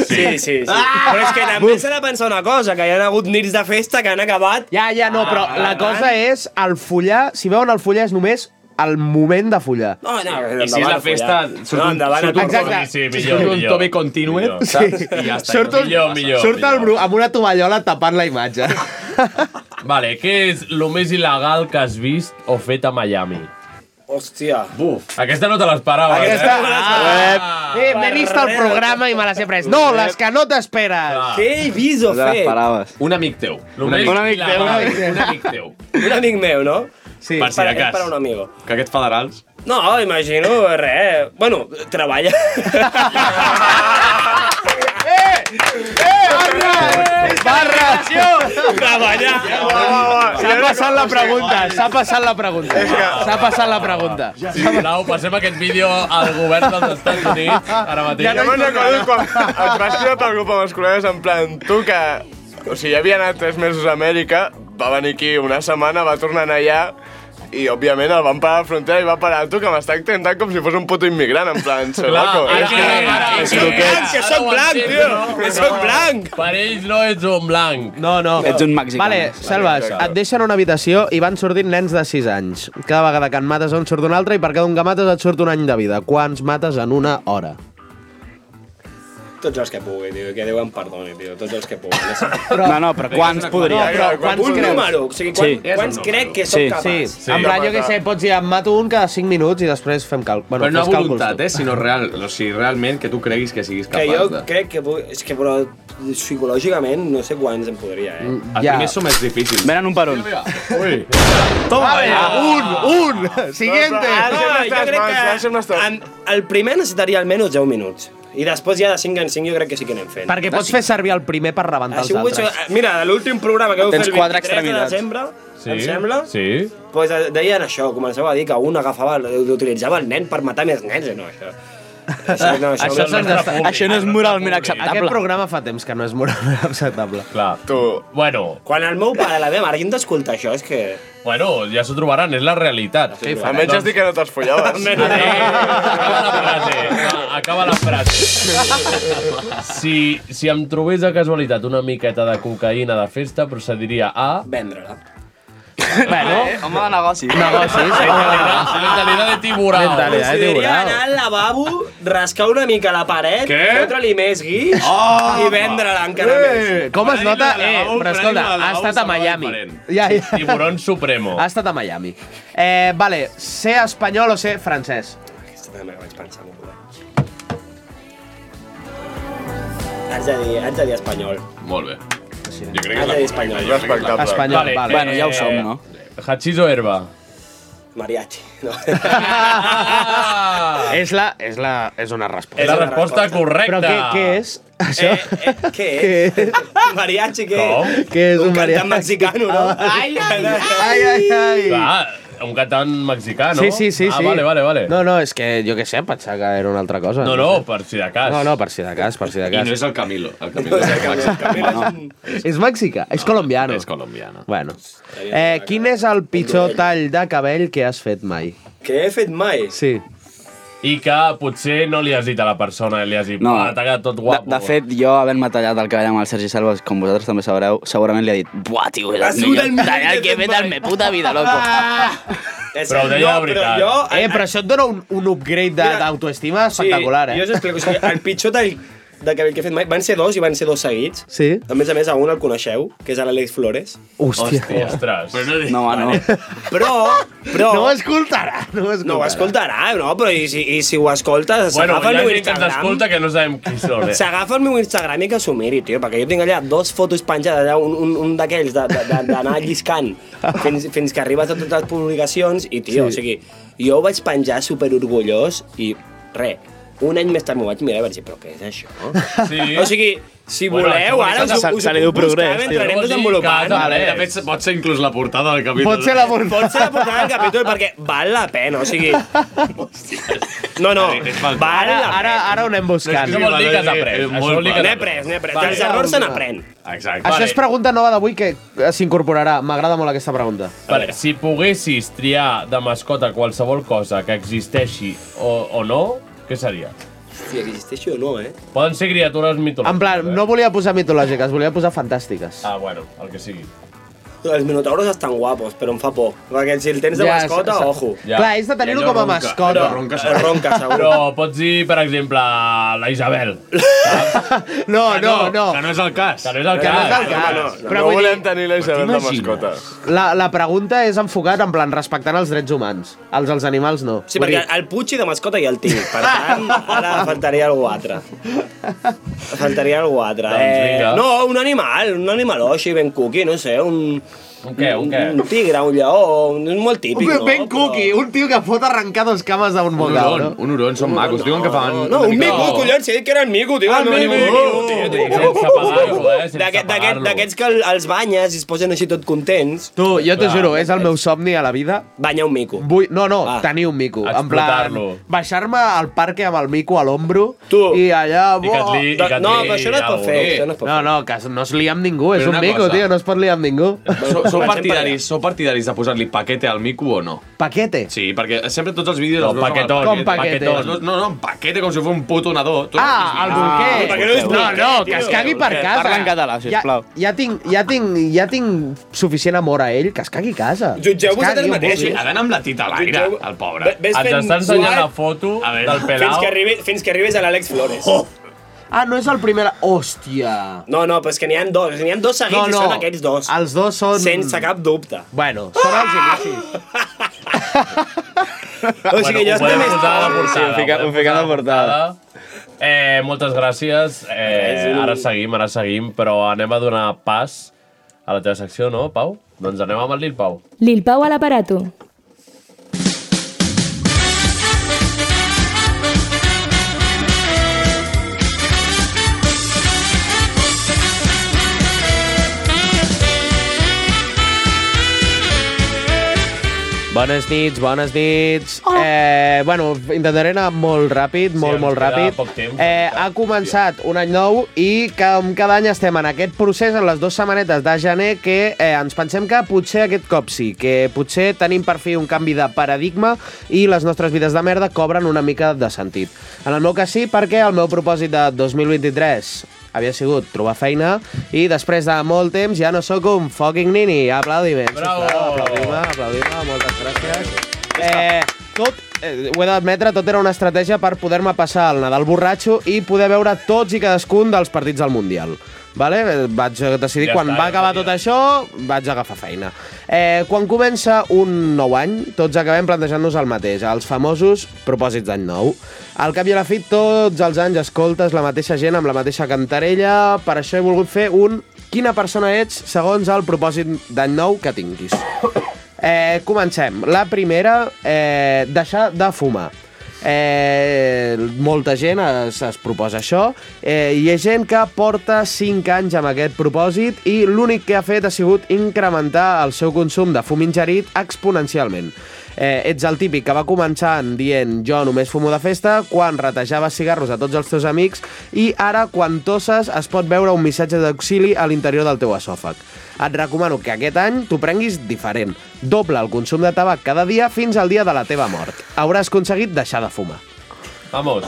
Sí, sí, sí. Però és que també s'ha de pensar una cosa, que hi ha hagut nits de festa que han acabat...
Ja, ja, no, però
Ah,
la cosa és el follar, si veuen el follar és només el moment de follar.
Oh, No, no,
I si és la festa, surt
No,
un,
endavant,
surt un,
endavant.
tobe-
Exacte. Sí,
millor,
surt un
millor.
tobe continue, saps? I ja està.
surt el,
millor, millor,
surt el Bru amb una tovallola tapant la [LAUGHS] imatge.
Vale, què és el més il·legal que has vist o fet a Miami?
Hòstia.
Buf. Aquesta no te l'esperava.
Aquesta...
Eh?
Ah, eh, M'he vist el programa i me les he pres. No, les que no t'esperes.
Ah.
Què he vist o fet?
Un amic teu.
Un amic,
Un amic teu.
Un amic teu.
Un amic meu, no?
Sí.
Per si
Para-
de cas.
Para un amigo.
Que aquests federals...
No, imagino, res. Bueno, treballa.
[LAUGHS]
Treballar.
S'ha passat la pregunta, s'ha passat la pregunta. S'ha passat la pregunta.
Sisplau, passem aquest vídeo al govern dels Estats Units ara mateix.
Ja no me'n recordo quan et vas tirar pel grup amb els col·legues en plan, tu que... O sigui, havia anat tres mesos a Amèrica, va venir aquí una setmana, va tornar a anar allà, I, òbviament, el van parar a la frontera i va parar tu, que m'està intentant com si fos un puto immigrant, en plan, ser
Clar,
loco.
ara-
És que-
ara-
és
ara-
croquet.
ara-
que soc blanc, tio, que soc blanc.
Per ells no ets un blanc.
No, no.
Ets un mexicà.
Vale, Selves, et deixen una habitació i van sortint nens de 6 anys. Cada vegada que en mates un surt un altre i per cada un que mates et surt un any de vida. Quants mates en una hora?
Tots els que pugui, tio, que Déu em perdoni, tio, tots els que pugui.
No, no, però quants podria?
un número, o sigui, quan,
Sí.
sí. quants crec que sóc
sí,
capaç?
Sí, sí. En plan, jo què sé, pots dir, em mato un cada 5 minuts i després fem cal... Bueno,
Però no
fes càlculs
voluntat,
tu.
eh, sinó real, o sigui, realment que tu creguis que siguis
Que
capaç
jo
de...
crec que... puc- És que, però, psicològicament, no sé quants em podria, eh?
Mm.
El primer som és difícil.
Venen un per un.
Ui.
Toma,
Ah.
un, un!
Siguiente! Ah, jo crec que en, el primer necessitaria almenys 10 minuts. I després ja de 5 en 5 jo crec que sí que anem fent.
Perquè pots fer servir el primer per rebentar els
Així ho vull...
altres.
Mira, l'últim programa que vau fer
Tens
el
quatre
23 de
extremitats.
desembre,
Sí,
em sembla,
Sí.
pues eh, deien això, començava a dir que un agafava, utilitzava el nen per matar més nens, i no, això... Això, no, això,
Això se'ns està- això no és
moralment
Aquest programa fa temps que no és moralment [LAUGHS] acceptable.
Clar.
Tu...
Bueno.
Quan el meu pare i la meva mare hagin d'escoltar això, és que...
Bueno, ja s'ho trobaran, és la realitat. Sí,
Doncs
Almenys has dit que no te'ls follaves.
Acaba la frase. Si, si em trobés de casualitat una miqueta de cocaïna de festa, procediria a...
Vendre-la.
Bueno, home de negoci.
Negocis.
Mentalidad- mentalidad de tiburón.
eh.
Us diria anar al lavabo, rascar una mica la paret,
Què?
fotre-li més guix
Oh,
i vendre-la encara més.
Com es nota? Eh,
lavabo,
però
paradigma
escolta,
de
ha
lavabo
estat a
sembla
Miami.
diferent.
Ja, ja.
Tiburón supremo.
Ha estat a Miami. Eh, vale, ser espanyol o ser francès?
Aquesta també la vaig pensar molt bé. Haig de dir, haig de dir espanyol.
Molt bé.
Jo crec que és la espanyol.
Jo crec que és la correcta. Espanyol, vale. eh, Bueno, ja ho som, no?
Hachís o eh, herba?
Mariachi. [LAUGHS] No.
Eh, És la... És, la, és una
[LAUGHS]
resposta.
És la resposta correcta.
Ah. Però què, què és? Això?
Eh, què
és? Què és?
Mariachi, què?
Què és un mariachi?
Cantant mexicano, no? Ai, [LAUGHS] ai,
ai, ai, ai.
Clar, un cantant mexicà, no?
Sí, sí, sí.
Ah,
sí.
vale, vale, vale.
No, no, és que jo què sé, em pensava que era una altra cosa.
No, no, per si de cas.
No, no, per si de cas, per si de
I
cas.
no és el Camilo. El Camilo és el
És mexicà? És colombiano. És colombiano. Bueno. Eh, quin és el pitjor tall de cabell que has fet mai?
Que he fet mai?
Sí.
I que potser no li has dit a la persona, li has dit, no. t'ha quedat tot
De,
guapo.
de fet, jo, havent-me tallat el cabell amb el Sergi Salvas, com vosaltres també sabreu, segurament li ha dit Buah, tio, és
Ha
el
sigut
millor
el millor
tallat
que
que he fet en me puta vida, loco.
Però ho deia la veritat. jo-
eh, però això et dona un, un upgrade de- d'autoestima espectacular, eh?
Jo us explico, o sigui, el pitjor tall de cabell que he fet mai, van ser dos i van ser dos seguits.
Sí.
A més a més, a un el coneixeu, que és a l'Àlex Flores.
Hòstia.
Ostres.
Però no,
no, no.
Però, però...
No ho escoltarà, no ho escoltarà.
No ho escoltarà, no, però i si, i si ho escoltes,
Bueno,
s'agafa
hi
el
ha
meu
gent que ens
Instagram.
escolta que no sabem qui són, eh?
S'agafa el meu Instagram i que s'ho miri, tio, perquè jo tinc allà dos fotos penjades, allà un, un, un d'aquells de- de- de- d'anar
[LAUGHS]
lliscant fins, fins que arribes a totes les publicacions i, tio,
Sí.
o sigui, jo ho vaig penjar super orgullós i re, un any més tard m'ho vaig mirar i vaig dir, però què és això?
Sí.
O sigui, si
Bueno,
voleu,
això
ara us, us,
se-
us,
se li diu progrés,
buscava,
tio.
entrarem
Vol dir
desenvolupant.
que has après. De fet, pot ser inclús la portada del capítol.
Pot ser la portada. Pot ser la
[LAUGHS]
portada del capítol perquè val la pena, o sigui... No, no, val la
Ara, ara, ara ho anem buscant.
Això vol dir que has après,
Eh, molt vol dir que
N'he
t'ha
après, n'he après.
Vale.
Dels errors se n'aprèn.
Exacte.
Això és pregunta nova d'avui que eh, s'incorporarà. M'agrada molt aquesta pregunta.
Per, si poguessis triar de mascota qualsevol cosa que existeixi o, o no, què seria?
Hòstia, que existeixi o no, eh?
Poden ser criatures mitològiques. eh?
En plan, no volia posar mitològiques, volia posar fantàstiques.
Ah, bueno, el que sigui.
Els minotauros estan guapos, però em fa por. Perquè si el tens de
Ja,
mascota,
sa- sa-
ojo.
Ja. Clar, és de tenir-ho
I allò
com a
ronca.
mascota.
Allò
Allò ronca, segur.
Però pots dir, per exemple, la Isabel.
[LAUGHS] No, no, no.
Que no és el cas. Que no és el
Que no
cas.
és el cas. Però
no
vull
volem tenir la Isabel de
t'imagines?
mascota.
La, la pregunta és enfocat en plan respectant els drets humans. Els dels animals no.
Sí, perquè el Puig i de mascota ja el tinc. Per tant, ara faltaria algú altre. Faltaria algú altre. Eh,
Doncs vinga.
no, un animal, un animaló així ben cuqui, no sé, un...
Un què, un què?
Un tigre, un lleó, un, és molt típic,
Un
no?
ben cookie, un tio que pot arrencar dos cames d'un
Un
bocau,
uron,
no?
un uron, són macos. Diuen que fan...
No, un mico, collons, si he dit que era el mico, tio.
Ah,
el meu
el mico,
animal.
tio,
Tio, tio.
sense pagar-lo, eh, sense
D'aquest- d'aquest-
pagar-lo.
D'aquests que el- els banyes i es posen així tot contents.
Tu, jo t'ho juro, és el meu somni a la vida.
Banyar un mico.
Vull, no, no,
Ah.
tenir un mico. En plan,
Explotar-lo.
baixar-me al parc amb el mico a l'ombro i allà...
I que et li- i que et No, li però això no es pot algo, fer, no? això no es pot
No, no, que no es lia amb ningú,
Però
és un
una
mico,
cosa.
tio, no es pot liar amb ningú.
Sou, Sou partidaris, sou partidaris de posar-li paquete al mico o no?
Paquete?
Sí, perquè sempre tots els vídeos...
No,
els veus amb el
paquetón, Com paquete?
Els veus- No, no, paquete com si fos un puto nadó. Tu
Ah, el bolquer.
perquè no és
no,
bolquer,
no, que
tio.
es cagui per
Bolquer.
casa.
Parla en català, sisplau.
Ja, ja, tinc, ja, tinc, ja tinc suficient amor a ell, que es cagui a casa. Es cagui on vulgui.
Ha d'anar amb la tita a l'aire, el pobre.
Ves fent suat
foto
del pelau.
Fins que, arribi, fins que arribes a l'Àlex Flores. Oh.
Ah, no és el primer... Hòstia.
No, no, però és que n'hi ha dos. N'hi ha dos seguits
No, no.
i són aquests dos.
Els dos són...
Sense cap dubte.
Bueno, són els inicis.
O sigui, jo estic més...
portada,
ho fica-
podem
ho fica
posar
a la portada.
Eh, moltes gràcies. Eh,
Res,
ara
un-
seguim, ara seguim, però anem a donar pas a la teva secció, no, Pau? Doncs anem amb el Lil Pau.
Lil Pau a l'aparato.
Bones nits, bones nits. Oh. Eh, bueno, intentaré anar molt ràpid, molt,
ens
molt
queda
ràpid.
poc temps.
eh, ha començat un any nou i com cada any estem en aquest procés, en les dues setmanetes de gener, que eh, ens pensem que potser aquest cop sí, que potser tenim per fi un canvi de paradigma i les nostres vides de merda cobren una mica de sentit. En el meu cas sí, perquè el meu propòsit de 2023 havia sigut trobar feina i després de molt temps ja no sóc un fucking nini. Aplaudiments.
Bravo!
sisplau, Aplaudim-me, aplaudim-me, moltes gràcies. Eh, tot, eh, ho he d'admetre, tot era una estratègia per poder-me passar el Nadal borratxo i poder veure tots i cadascun dels partits del Mundial. Vale? Eh, Vaig decidir,
Ja
ja quan
està,
està, va
ja
acabar
està,
tot això, vaig agafar feina. Eh, quan comença un nou any, tots acabem plantejant-nos el mateix, els famosos propòsits d'any nou. Al cap i a la fi, tots els anys escoltes la mateixa gent amb la mateixa cantarella, per això he volgut fer un quina persona ets segons el propòsit d'any nou que tinguis. Eh, comencem. La primera, eh, deixar de fumar. Eh, molta gent es, es proposa això eh, i hi ha gent que porta 5 anys amb aquest propòsit i l'únic que ha fet ha sigut incrementar el seu consum de fum ingerit exponencialment. Eh, ets el típic que va començant dient jo només fumo de festa quan retejava cigarros a tots els teus amics i ara quan tosses es pot veure un missatge d'auxili a l'interior del teu esòfag. Et recomano que aquest any t'ho prenguis diferent. Doble el consum de tabac cada dia fins al dia de la teva mort. Hauràs aconseguit deixar de fumar.
Vamos.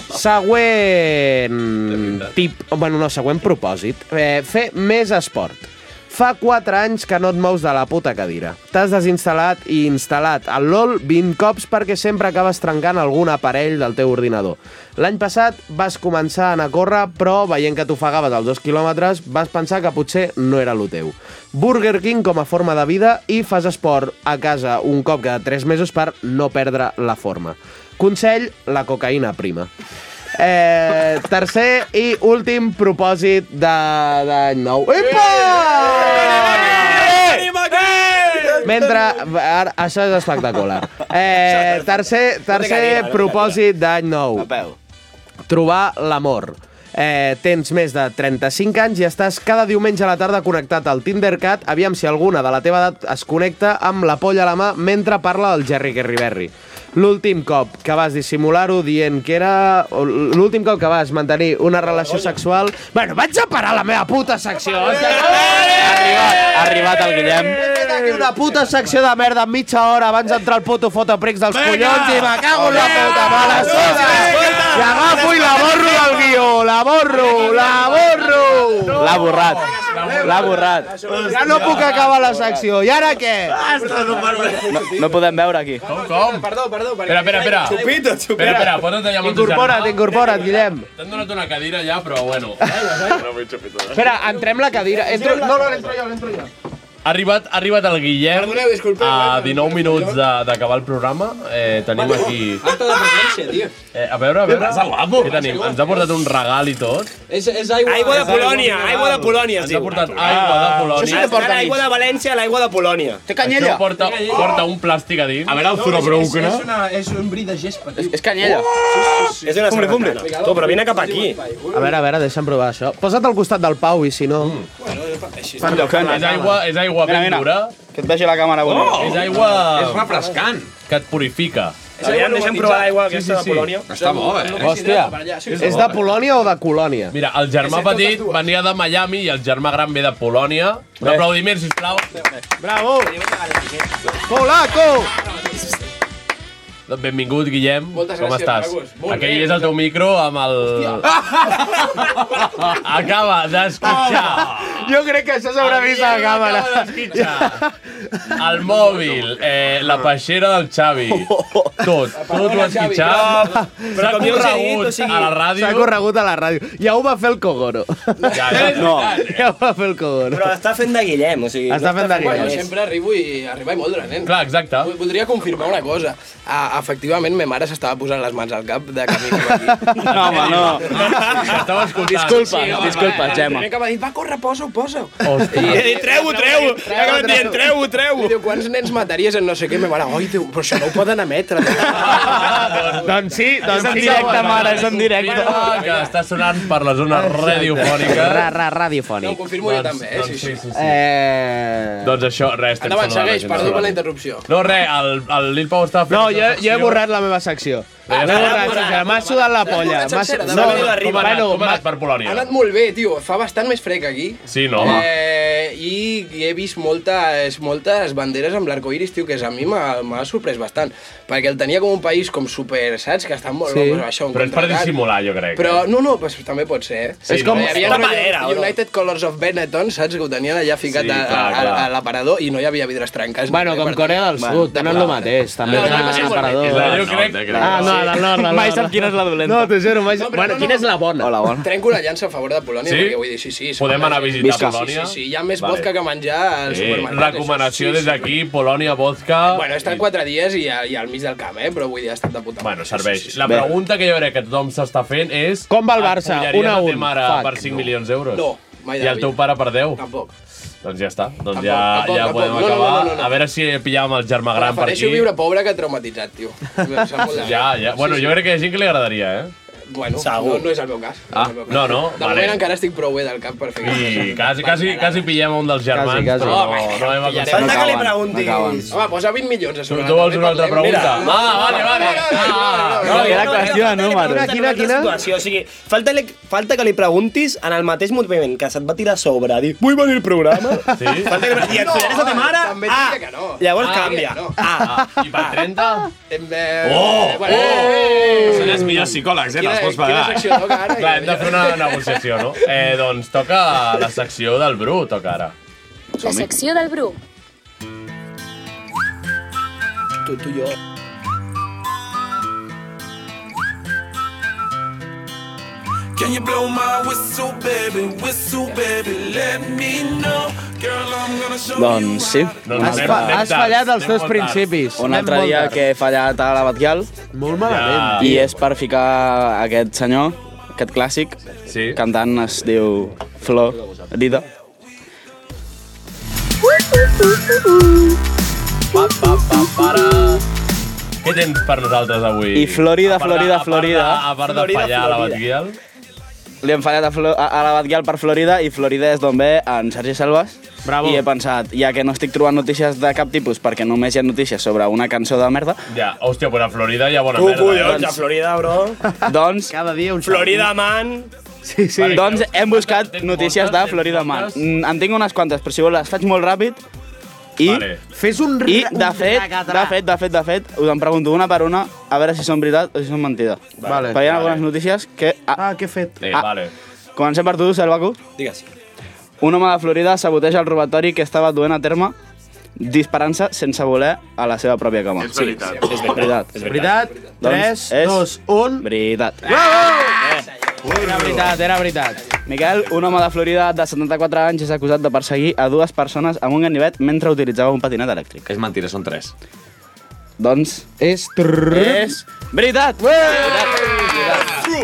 Següent tip, bueno, no, següent propòsit. Eh, fer més esport. Fa 4 anys que no et mous de la puta cadira. T'has desinstal·lat i instal·lat el LOL 20 cops perquè sempre acabes trencant algun aparell del teu ordinador. L'any passat vas començar a anar a córrer, però veient que t'ofegaves als 2 quilòmetres, vas pensar que potser no era lo teu. Burger King com a forma de vida i fas esport a casa un cop cada 3 mesos per no perdre la forma. Consell, la cocaïna prima. Eh, tercer i últim propòsit de d'any nou. Epa! Mentre... Ara, això és espectacular. Eh, tercer tercer propòsit d'any nou. Trobar l'amor. Eh, tens més de 35 anys i estàs cada diumenge a la tarda connectat al Tindercat, aviam si alguna de la teva edat es connecta amb la polla a la mà mentre parla el Jerry Gerriberri. L'últim cop que vas dissimular-ho dient que era... L'últim cop que vas mantenir una relació sexual... Bueno, vaig a parar la meva puta secció! eh? Ha arribat el Guillem. He fet aquí una puta secció de merda mitja hora abans d'entrar el puto fotoprix dels collons i me cago en la puta mala sola. I agafo i la borro del guió, la borro, la borro. L'ha borrat. L'ha borrat. Ja no puc acabar la secció. I ara què?
No, no podem veure aquí.
Com, com?
Perdó, perdó.
Espera, espera, espera.
Xupito, xupito.
Espera, espera, pots tallar amb el teu
Incorpora't,
germà?
incorpora't, Guillem.
T'han donat una cadira ja, però bueno.
Espera, entrem la cadira. Entro... No, no, l'entro jo, l'entro jo.
Ha arribat, ha arribat el Guillem
Perdoneu, disculpeu,
a 19 minuts de- d'acabar el programa. Eh, tenim aquí...
Acte de presència, tio.
Eh, a veure, a veure...
Vas a guapo.
Què tenim? Ens ha portat un regal i tot.
És, és aigua...
Aigua de Polònia, aigua de Polònia,
Ens
tio.
ha portat aigua de Polònia.
Això sí que porta L'aigua de València, l'aigua de Polònia. Té
Això porta, porta un plàstic a dins. A veure,
És, és, una, és un bri de gespa, tio. És
canyella.
És una
Fumble,
sargantana.
fumble.
Tu, però vine cap aquí.
A veure, a veure, deixa'm provar això. Posa't al costat del Pau i si no...
És aigua, és aigua ben dura.
Que et vegi la càmera.
Oh. És aigua
És refrescant.
que et purifica.
Aviam, deixem provar l'aigua aquesta de Polònia.
Està bo, eh?
Hòstia.
És de Polònia o de Colònia?
Mira, el germà petit venia de Miami i el germà gran ve de Polònia. Un aplaudiment, sisplau.
Bravo! Polaco!
Doncs Benvingut, Guillem.
Moltes
Com
gràcies,
estàs?
Marcos. Molt
Aquell
bé.
és el teu micro amb el... [LAUGHS] Acaba d'esquitxar.
Jo crec que això s'haurà vist a la càmera.
[LAUGHS] El mòbil, eh, la peixera del Xavi. Tot, tot ho ha esquitxat. S'ha corregut a la ràdio.
S'ha corregut a la ràdio. Ja ho va fer el Kogoro.
Ja, ja,
no. [LAUGHS] Ja ho va fer el Kogoro.
Però està fent de Guillem, o sigui...
Està fent de
Bueno,
Guillem.
sempre arribo i arribar i moldre, nen.
Clar, exacte.
Voldria confirmar una cosa. Ah, efectivament, ma mare s'estava posant les mans al cap de camí cap aquí.
[LAUGHS] No, home, no. Estava escoltant.
El primer que m'ha dit, va, corre, posa-ho, posa-ho.
Hòstia.
I he
dit, treu-ho, treu-ho. He acabat dient, treu-ho, treu-ho.
I diu, quants nens mataries en no sé què? I ma mare, oi, Déu, però això no ho poden emetre.
[LAUGHS] doncs sí,
doncs en sí. directe, mare, és en directe.
Que està sonant per les zones radiofòniques.
Ra, ra, Doncs radiofònic.
Confirmo jo també, eh? Sí, sí, sí.
Eh...
Doncs això, res, estem
Endavant,
saludant la
segueix,
gent
perdó
de
per la
Sony.
interrupció.
No, res, el, el Lil Pau estava fent...
No, jo, jo he borrat la meva secció.
Ah,
L'he
l'has
borrat,
borrat.
sincera. M'ha sudat la polla.
borrat
M'ha
sencera,
sudat-
de manera de
No,
rima.
bueno,
Com ha anat
m'ha-
per Polònia?
Ha anat molt bé, tio. Fa bastant més frec aquí.
Sí, no, home.
Eh, i, I he vist moltes, moltes banderes amb l'arcoiris, tio, que a mi m'ha m'ha sorprès bastant. Perquè el tenia com un país com super, saps? Que estan molt
Sí.
locos amb això.
Però és per
contraatac.
dissimular, jo crec. eh.
Però, no, no, pues, també pot ser, eh?
Sí, És com-
Hi havia
Està
un rotllo
madera, o no?
United Colors of Benetton, saps? Que ho tenien allà ficat
Sí,
sí, a,
clar,
a,
clar.
a, a l'aparador i no hi havia vidres Eh, trencats.
Bueno, com Corea del Sud, tenen el mateix. També
No,
no,
no,
no,
no,
aparador.
és la del
nord, eh, crec.
Ah, no, la nord, la nord.
Mai sap quina és la dolenta.
No, t'ho juro, mai... bueno, quina és la bona?
Hola, bona. Trenco una llança a favor de Polònia,
Sí?
perquè vull dir, sí, sí. som
Podem
una-
anar a visitar Visca.
Sí, sí,
Polònia?
sí, hi ha més
Vale.
vodka que menjar al
Eh,
supermercat.
recomanació
això
des
sí,
d'aquí, Polònia, vodka...
sí. Bueno, estan quatre dies i, a- i al mig del camp, eh? Però vull dir, ha estat de puta madre.
Bueno, serveix. La pregunta que jo crec que tothom s'està fent és...
Com va el
Barça?
Una
Un a
a
un.
un. mare
Fuck,
per 5
no.
milions d'euros?
No, mai de
I
la
el teu
vida.
pare per 10?
Tampoc.
Doncs ja està. Doncs
Tampoc,
ja,
tampoc,
ja
tampoc.
podem
No, no, no,
acabar.
no, no, no.
A veure si pillàvem el germà gran per
Prefereixo
aquí.
viure pobre que traumatitzat,
[LAUGHS]
tio. Em sap molt de greu.
Ja, ja. Bueno,
Sí, sí.
jo crec que hi ha gent que li agradaria, eh?
Bueno,
Segur.
no, no és el meu cas.
Ah,
és el meu cas.
no, no,
De
vale.
moment encara estic prou bé del camp per fer
I quasi, quasi, quasi pillem un dels germans,
quasi.
però no, no hem aconseguit.
Home, posa 20 milions a sobre.
Tu vols una altra pregunta?
Mira.
Va, vale, vale. Ah,
No, no, era
qüestió de números.
Quina, quina? Situació, o sigui, falta, li, falta que li preguntis en el mateix moviment que se't va tirar a sobre, dir, vull venir al programa. Sí? Falta que li preguntis, i et follaràs a ta mare?
També et diria que no.
Llavors
Ah,
canvia.
no.
Ah.
I per 30?
Oh! Bueno, eh,
Són els millors psicòlegs, eh? Te'ls pots pagar.
Clar, hem de fer una negociació, no? Eh, doncs toca la secció del Bru, toca ara.
La secció del Bru.
Tu, tu i jo.
Can you blow my whistle, baby? Whistle, baby, let me know. Girl, I'm gonna show
Doncs sí.
Has, fa has fallat els teus principis.
Un
Anem
altre
molt
dia
tard.
que he fallat a la Batguial.
Molt
Ah.
malament.
I
tio.
és per ficar aquest senyor, aquest clàssic,
sí.
cantant es diu Flor Dida.
Pa, pa, pa, para. Què tens per nosaltres avui?
I Florida,
A part de-
Florida,
a part de-
Florida.
A part de
Florida,
fallar a la
Florida.
Batguial.
Li hem fallat a, Flo a, a la Batguial per Florida i Florida és d'on ve en Sergi Selves. Bravo. I he pensat, ja que no estic trobant notícies de cap tipus perquè només hi ha notícies sobre una cançó
[LAUGHS]
de merda,
Ja, hòstia, però a Florida hi ha bona
Tu,
merda. eh?
collons, a
Doncs Florida, bro.
doncs...
Cada dia un
Florida Man.
Sí,
sí. Doncs hem buscat notícies de Florida Man. Mm, En tinc unes quantes, però si vols les faig molt ràpid. I,
Vale. Fes un
I,
ra-
de
un
fet,
racatrà.
de fet, de fet, de fet, us en pregunto una per una, a veure si són veritat o si són mentida.
Vale.
Perquè hi ha
Vale.
algunes notícies que... Ah,
què he fet?
Sí, Eh, vale.
Comencem per tu, Salvaco.
Digues.
Un home de Florida saboteja el robatori que estava duent a terme disparant-se sense voler a la seva pròpia cama.
És veritat.
Sí, és veritat.
És veritat. Tres,
dos,
un...
Veritat.
Era veritat, era veritat.
Miquel, un home de Florida de 74 anys és acusat de perseguir a dues persones amb un ganivet mentre utilitzava un patinet elèctric.
És mentira, són tres.
Doncs és... És... Veritat!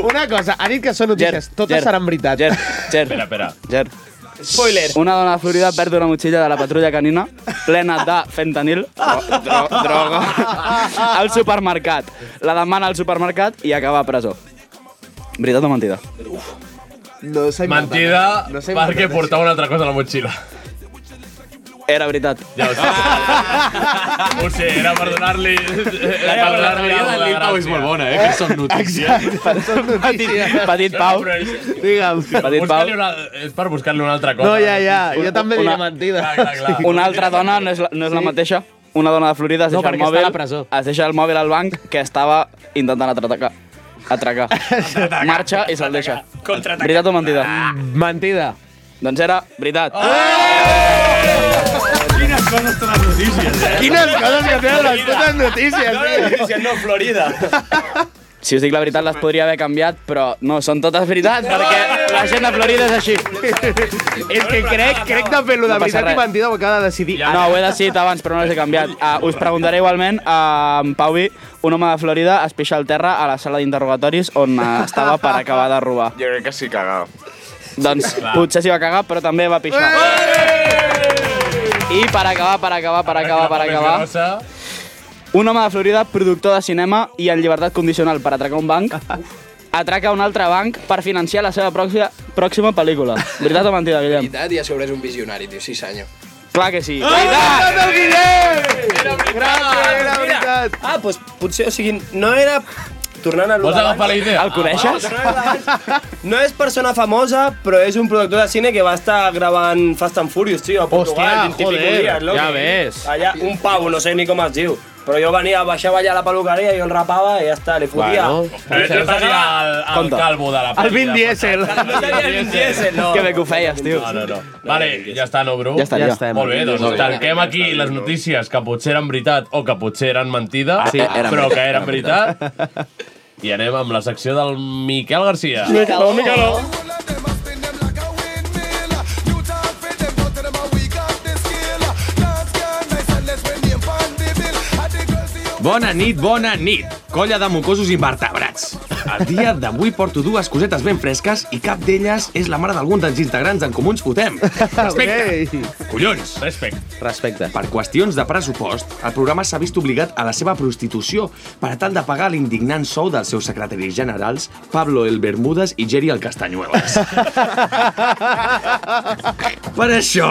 Una cosa, ha dit que són notícies, totes
Ger.
seran veritat.
Ger, Ger. Espera,
espera.
Ger.
Spoiler.
Una dona de Florida perd una motxilla de la patrulla canina plena de fentanil, dro dro droga, al supermercat. La demana al supermercat i acaba a presó. Veritat o mentida?
No s'ha
eh?
Mentida, perquè portava una altra cosa a la motxilla.
Era veritat.
Ja ho sé.
Ah.
Ho sé, era per donar-li... Era per donar-li
La
la
del Pau és
gràcia.
molt bona, eh? Que són notícies.
Petit,
petit Pau.
Digue'm.
Petit Pau.
Buscar-li una- És per buscar-li una altra cosa.
No, ja, ja,
Un-
jo també diria
mentida.
Una altra dona no és la, no és la mateixa. Una dona de Florida es
No,
deixa el
perquè està
mòbil...
a la presó.
Es deixa el mòbil al banc que estava intentant atracar. Atracar. Marxa i se'l deixa.
Contraatacar.
Veritat o mentida?
Mentida.
Doncs era veritat.
Quines coses són les notícies, eh?
Quines coses que tenen les putes notícies,
No, les notícies no, Florida.
Si us dic la veritat, les podria haver canviat, però no, són totes veritats, perquè la gent de Florida és així.
És que crec, crec de fer-lo de
No passa
veritat i
res.
mentida ho acaba de decidir.
No, ho he decidit abans, però no les he canviat. Uh, us preguntaré igualment, uh, en Pauvi, un home de Florida es pixa al terra a la sala d'interrogatoris on uh, estava per acabar de robar.
Jo crec que sí cagar.
Doncs
Clar. Eh!
potser s'hi va cagar, però també va pixar. I per acabar, per acabar, per acabar, per acabar... Un home de Florida, productor de cinema i en llibertat condicional per atracar un banc, atraca un altre banc per financiar la seva pròxima, pròxima pel·lícula. Veritat o mentida, Guillem?
Veritat, i a sobre és un visionari, tio, sí senyor.
Clar que sí.
Era veritat. doncs Ah, doncs potser, o sigui, no era... Tornant a lo
Vols
d'abans.
agafar la idea? El coneixes?
No és persona famosa, però és un productor de cine que va estar gravant Fast and Furious, tio, a
Hòstia,
Portugal, 20 i pico
joder,
dies, loco.
ja ves.
Allà, un pavo, no sé ni com es diu. Però jo venia, baixava allà a la peluqueria, jo el rapava i ja està, li fotia.
Bueno.
Però això Eh, seria [LAUGHS] el, el
Compte.
calvo de la
El Vin Diesel. No seria el Vin Diesel, no.
Que bé que ho feies, tio.
No, no, no. Vale, ja està, no, Bru?
Ja està, ja. estem.
Molt bé, doncs
Ja està.
tanquem aquí les notícies que potser eren veritat o que potser eren mentida,
Ah, sí, eren
però que eren
veritat,
veritat. I anem amb la secció del Miquel García.
Miqueló, Miqueló.
Bona nit, bona nit, colla de mocosos invertebrats. El dia d'avui porto dues cosetes ben fresques i cap d'elles és la mare d'algun dels integrants en Comuns Fotem. Respecte! Collons!
Respecte.
Respecte. Per qüestions de pressupost, el programa s'ha vist obligat a la seva prostitució per tal de pagar l'indignant sou dels seus secretaris generals, Pablo el Bermudes i Jerry el
[LAUGHS]
Castanyuelas. Per això,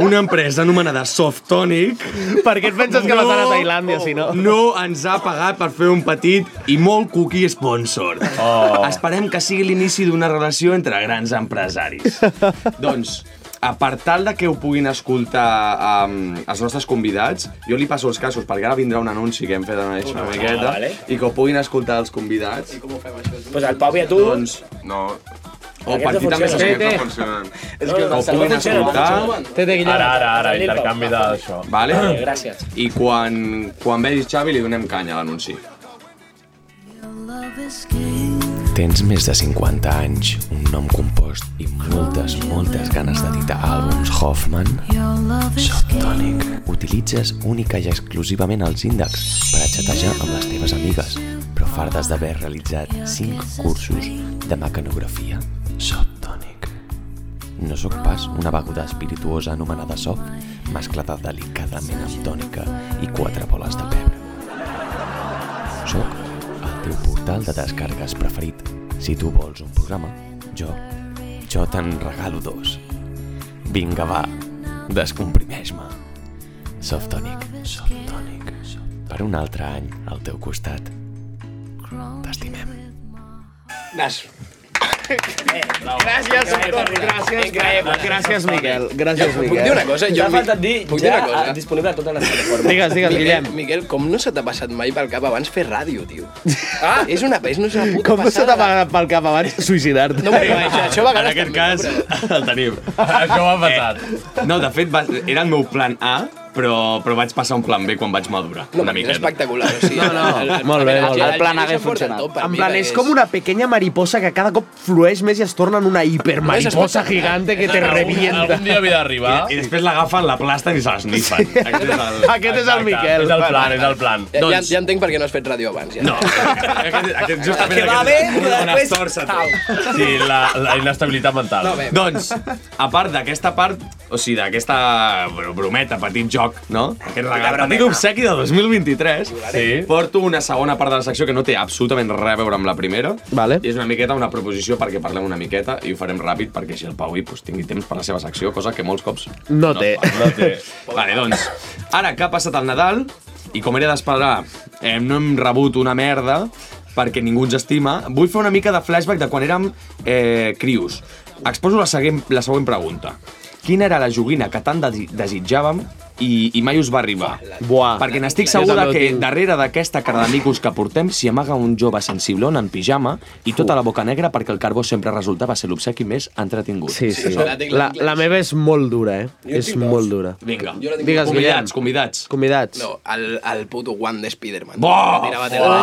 una empresa anomenada Softonic... Per què et penses
que vas anar a Tailàndia, si no?
No ens ha pagat per fer un petit i molt cookie sponsor.
Oh.
Esperem que sigui l'inici d'una relació entre grans empresaris. doncs, a per tal de que ho puguin escoltar um, els nostres convidats, jo li passo els casos, perquè ara vindrà un anunci que hem fet anar una
Ah,
miqueta,
vale.
i que ho puguin escoltar els convidats. I com ho fem, això?
Pues al Pau i a tu.
Doncs, no, o per ti també
Aquests no
funcionen.
És que
Ho
els que no
puguin
funcionen,
escoltar.
no funcionen. Ara, ara, ara, intercanvi
d'això.
Vale?
Vale, Eh, gràcies.
I quan, quan vegis Xavi li donem canya a l'anunci.
Tens més de 50 anys, un nom compost i moltes, moltes ganes d'editar àlbums Hoffman? Softonic. Utilitzes única i exclusivament els índexs per a xatejar amb les teves amigues, però fardes d'haver realitzat 5 cursos de mecanografia? Softonic. No sóc pas una beguda espirituosa anomenada soft, mesclada delicadament amb tònica i quatre boles de pebre. Soc el teu portal de descargues preferit. Si tu vols un programa, jo, jo te'n regalo dos. Vinga, va, descomprimeix-me. Softonic, Softonic, per un altre any al teu costat. T'estimem.
Nas.
Gràcies a tots, gràcies, gràcies, gràcies, Miquel. Gràcies, Miquel.
Puc dir una cosa?
T'ha
mi-
faltat dir
puc
ja
dir una cosa?
disponible a totes les plataformes.
[LAUGHS] Digues, digues,
Miquel,
Guillem.
Miquel, com no se t'ha passat mai pel cap abans fer ràdio, tio? Ah, és una, és una puta
Com no se
passada.
t'ha pagat pel cap abans suïcidar-te.
No, però això- això a
En
vegades
aquest cas, el tenim.
Això m'ha passat.
Eh, no, de fet, va, era el meu plan A, però, però vaig passar un plan B quan vaig madurar, no, una miqueta.
espectacular, o sigui,
No, no, molt bé, molt bé. El plan hagués
funcionat.
En plan, és com una pequeña mariposa que cada cop flueix més i es torna en una hipermariposa gigante que te revienta.
Algun dia havia d'arribar.
I, I després l'agafen, la plasten i se l'esnifen. Aquest és el...
Aquest és el
Miquel. És el plan, és el plan. Doncs,
Ja, ja, ja entenc per què no has fet ràdio abans. Ja.
Doncs- No, aquest, aquest justament...
Que va
aquest-
bé, però
on
després-
es torça tot.
Sí, la, la inestabilitat mental.
Doncs, a part d'aquesta part, o sigui, d'aquesta br- brometa, petit joc, no? Aquest regal, petit obsequi de 2023, sí. porto una segona part de la secció que no té absolutament res a veure amb la primera,
vale.
i és una miqueta una proposició perquè parlem una miqueta i ho farem ràpid perquè així el Pau i pues, tingui temps per la seva secció, cosa que molts cops
No té.
no té. [LAUGHS] Vale, doncs, ara que ha passat el Nadal, i com era d'esperar, eh, no hem rebut una merda perquè ningú ens estima, vull fer una mica de flashback de quan érem eh, crios. Exposo la següent, la següent pregunta. Quina era la joguina que tant desi- desitjàvem i, i mai us va arribar?
Buah.
Perquè n'estic
Jo
segura
també ho
que
tinc.
darrere d'aquesta cara d'amigos que portem s'hi amaga un jove sensiblon en pijama i tota la boca negra perquè el carbó sempre resultava ser l'obsequi més entretingut.
Sí, sí. La, la meva és molt dura, eh?
Jo en
És
tinc dos.
molt dura.
Vinga.
Jo la tinc
Digues, Guillem.
Convidats, convidats.
Convidats.
No, el, el puto guant de Spiderman.
Boh!
Tirava tela de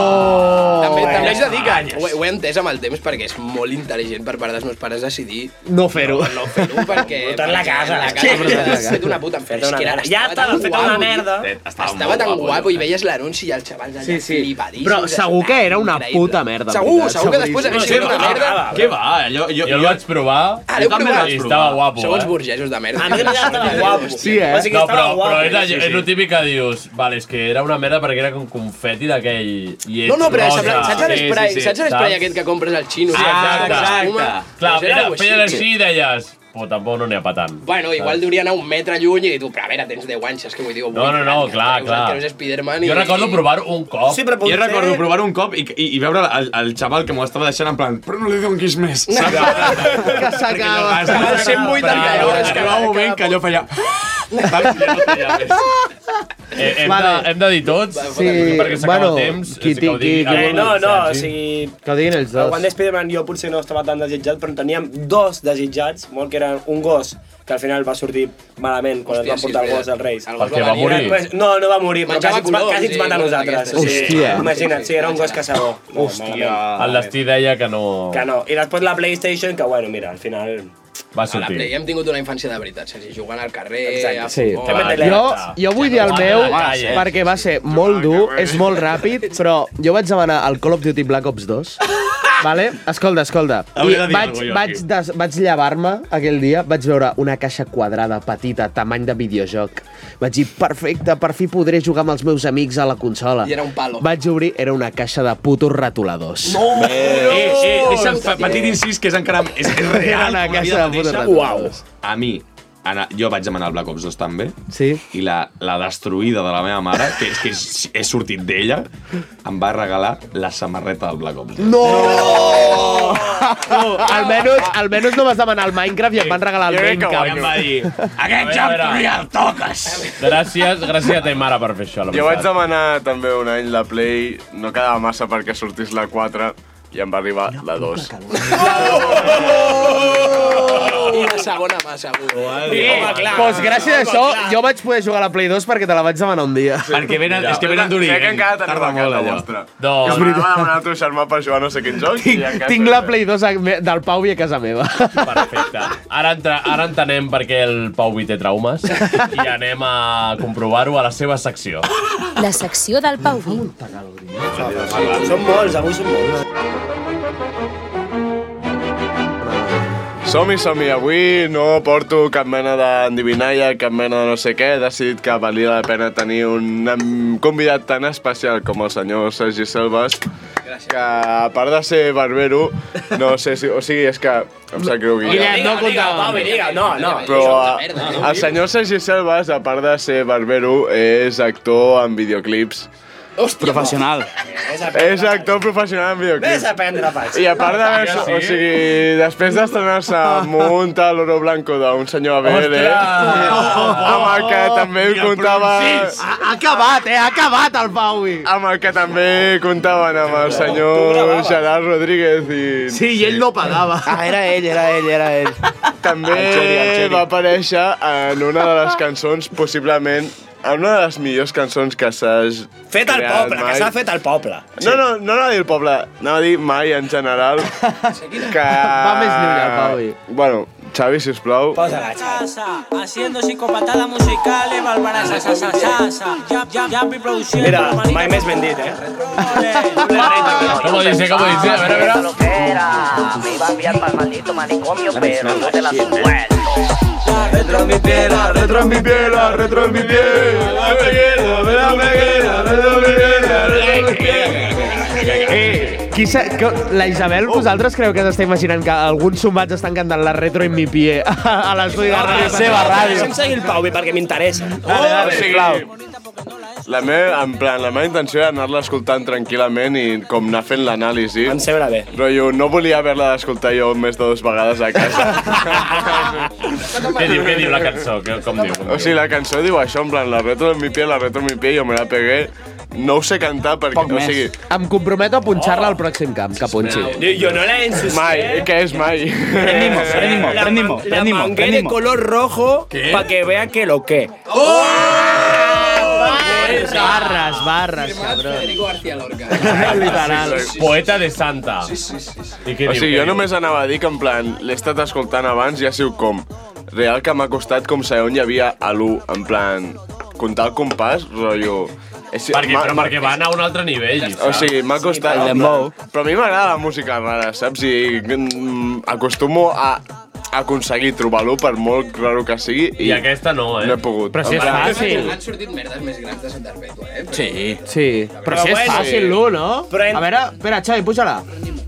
Oh!
També,
Buenas
també haig de dir que ho, he- ho he entès amb el temps perquè és molt intel·ligent per part dels meus pares decidir
No fer-ho.
no fer-ho
[LAUGHS]
perquè...
Brotar la
perquè
casa.
La casa
Sí.
brotar- has fet una puta
Fet una
enferma.
merda. Ja te l'has fet una merda.
Estava,
molt
tan
guapo,
guapo i veies l'anunci i els xavals allà
Sí, sí.
flipadíssimos.
Però segur que era una
Increïble.
puta merda,
Segur,
veritat.
segur que després hagués sigut una merda. Ah,
Què va? Jo, jo,
jo el vaig provar.
Ara ho provaràs.
I estava guapo,
Sou uns
eh?
burgesos de merda.
A mi m'estava guapo.
Sí, eh?
O sigui,
no,
estava
però,
guapo.
però era,
Sí, sí.
és el típic que dius, vale, és que era una merda perquè era com confeti d'aquell... i és
No, no, però
rosa.
sembla- saps l'espray sí, sí, sí,
Saps?
aquest que compres al xino?
Sí,
que
exacte.
fa
exacte.
espuma?
Clar,
Doncs era
feia,
algo així.
feien així i deies, però tampoc no n'hi ha per tant.
Bueno, igual deuria anar un metre lluny i tu, però a veure, tens 10 anys, és que vull dir...
No, no, no, clar, clar.
Que no és Spiderman i...
Jo recordo
[LAUGHS]
provar un cop. Sí,
jo recordo provar un cop i, i, i veure el, el xaval que m'ho estava deixant en plan però no li donguis més, saps?
que s'acaba.
Els 180 euros que Ah! va un moment que allò feia...
Eh, hem,
Vale.
de, hem de dir tots,
Sí,
perquè s'acaba el
bueno,
temps.
qui
és que ho
tingui-
digui
qui
Eh,
algú.
no, no, o
Sí.
sigui...
Que ho diguin ells
El guant
dos.
de Spiderman jo potser no estava tan desitjat, però en teníem dos desitjats, molt que eren un gos que al final va sortir malament quan
Hòstia,
ens
sí,
van portar
és
el gos
veritat.
als Reis.
El gos Perquè va va morir. morir.
Pues, no, no va morir, però
Menjava
quasi, ens va-
coloms
quasi ens
i
van a
coses
nosaltres.
d'aquestes. Hòstia.
Imagina't, sí, era un gos caçador. No,
Hòstia.
malament.
El destí deia que no...
Que no. I després la PlayStation, que bueno, mira, al final...
Va
A la Play hem tingut una infància de veritat, Sergi, jugant al carrer, a
Sí.
futbol...
Jo, jo vull dir el meu perquè va ser molt dur, és molt ràpid, però jo vaig demanar el Call of Duty Black Ops 2. Vale? Escolta, escolta. I
Hauria de dir
vaig,
alguna cosa,
vaig, des, vaig llevar-me aquell dia, vaig veure una caixa quadrada, petita, tamany de videojoc. Vaig dir, perfecte, per fi podré jugar amb els meus amics a la consola.
I era un palo.
Vaig obrir, era una caixa de putos retoladors. [LAUGHS]
No!
Oh!
Eh, eh, deixa'm fa, petit incís que és encara... És, és real.
Una
com vida
caixa de putos
mateixa.
ratones.
A mi, Anna, jo vaig demanar el Black Ops 2 també,
sí.
i la, la destruïda de la meva mare, que és que és- he sortit d'ella, em va regalar la samarreta del Black Ops 2.
No! no! Almenys, almenys no vas demanar el Minecraft i et van regalar el Minecraft.
em va dir, aquest
joc
joc no el toques!
Gràcies, gràcies a ta mare per fer això, la
Jo vaig
veritat.
demanar també un any la Play, no quedava massa perquè sortís la 4 i em va arribar la 2.
I la segona mà, segur.
Sí, doncs gràcies a això jo vaig poder jugar a la Play 2 perquè te la vaig demanar un dia.
Perquè venen, és que venen d'un
Sé que
nivell.
encara teniu la carta vostra. No,
Doncs,
que us
no.
anava a demanar al teu germà per jugar a no sé quin joc. i
Tinc,
encara
tinc
teniu.
la Play 2 a me- del Pau i a casa meva.
Perfecte. Ara, entra, ara entenem per què el Pau Vi té traumes i anem a comprovar-ho a la seva secció.
La secció del Pau Vi.
Són molts, avui són molts.
Som-hi, som-hi. Avui no porto cap mena d'endivinalla, cap mena de no sé què. He decidit que valia la pena tenir un em, convidat tan especial com el senyor Sergi Selves, que a part de ser barbero, no sé si... O sigui, és que em sap greu, Guillem.
no comptava. Pau, digue, no, no.
Però a, el senyor Sergi Selves, a part de ser barbero, és actor en videoclips.
Hòstia,
professional. És actor professional en videoclips.
Vés a prendre faig.
I a part
Ah,
d'haver...
Ja sí.
O sigui, després d'estrenar-se amb un tal oro blanco d'un senyor Abel, eh? Amb el que també comptava...
Ah,
Ha, ha acabat, eh? Ha acabat el Pau. i-
Amb el que també comptaven amb el senyor Gerard Rodríguez i...
Sí, i ell no pagava. Ah, era ell, era ell, era ell.
També va aparèixer en una de les cançons, possiblement, en una de les millors cançons que s'has
Fet al
creat
poble, que
mai.
s'ha fet al poble.
No, no, no anava a dir el poble, anava a dir mai en general que... Va
més lluny, el Paui.
Bueno, Xavi, sisplau.
Posa-la,
Haciendo psicopatadas musicales, Bárbara Sasa Sasa Sasa. Yap, yap, yap y produciendo.
Mira, mai més ben dit, eh?
¿Cómo dice? ¿Cómo dice? A ver, a ver.
Me va a enviar pa'l maldito manicomio, pero no te la suelto.
Retro en mi piel, retro en mi piel, retro en mi piel. Dame guerra, me dame guerra, me dame guerra, retro en mi piel.
Qui s'ha- que, la Isabel, vosaltres creu que s'està imaginant que alguns sumats estan cantant la retro en mi pie a, a l'estudi de
No,
ràdio?
però Deixa'm seguir el Pau, bé, perquè m'interessa.
Dale, dale, sisplau.
La meva, en plan, la meva intenció era anar-la escoltant tranquil·lament i com anar fent l'anàlisi. Em
sembla bé.
Rotllo, no volia haver-la d'escoltar jo més de dues vegades a casa.
Què diu, què diu la cançó? Que, com diu? Com
o sigui, la cançó diu això, en plan, la retro en mi pie, la retro en mi pie, jo me la pegué. No ho sé cantar perquè,
Poc
o
més.
sigui...
Em comprometo a punxar-la al pròxim camp, que punxi.
Yo no la he ensuciado.
Mai, ¿qué es Mai?
Prendimos, prendimos, prendimos. Eh, ¡Oh! La
prendimos,
mangué
prendimos.
de color rojo para que vea que lo que.
Barres, barres, cabrón.
Federico García Lorca.
Literal. Poeta de Santa. I què
o
diu,
sigui, jo
què diu?
només anava a dir que, en plan, l'he estat escoltant abans i ha sigut com... Real que m'ha costat com saber on hi havia a l'1, en plan... Comptar el compàs, rotllo... És,
Perquè,
ma-
però
ma-
perquè van a un altre nivell,
O sigui, m'ha costat...
el
en
dembow.
plan, Però a mi m'agrada la música rara, saps? I mm, acostumo a aconseguir trobar-lo per molt raro que sigui.
I aquesta no, eh?
No he pogut.
Però si
En
és
plan-
fàcil.
Han sortit merdes més grans de Santa Perpètua, eh?
Sí. Sí. Però,
Però
si és
bueno.
fàcil, l'1, no? A veure, espera, Xavi, puja-la.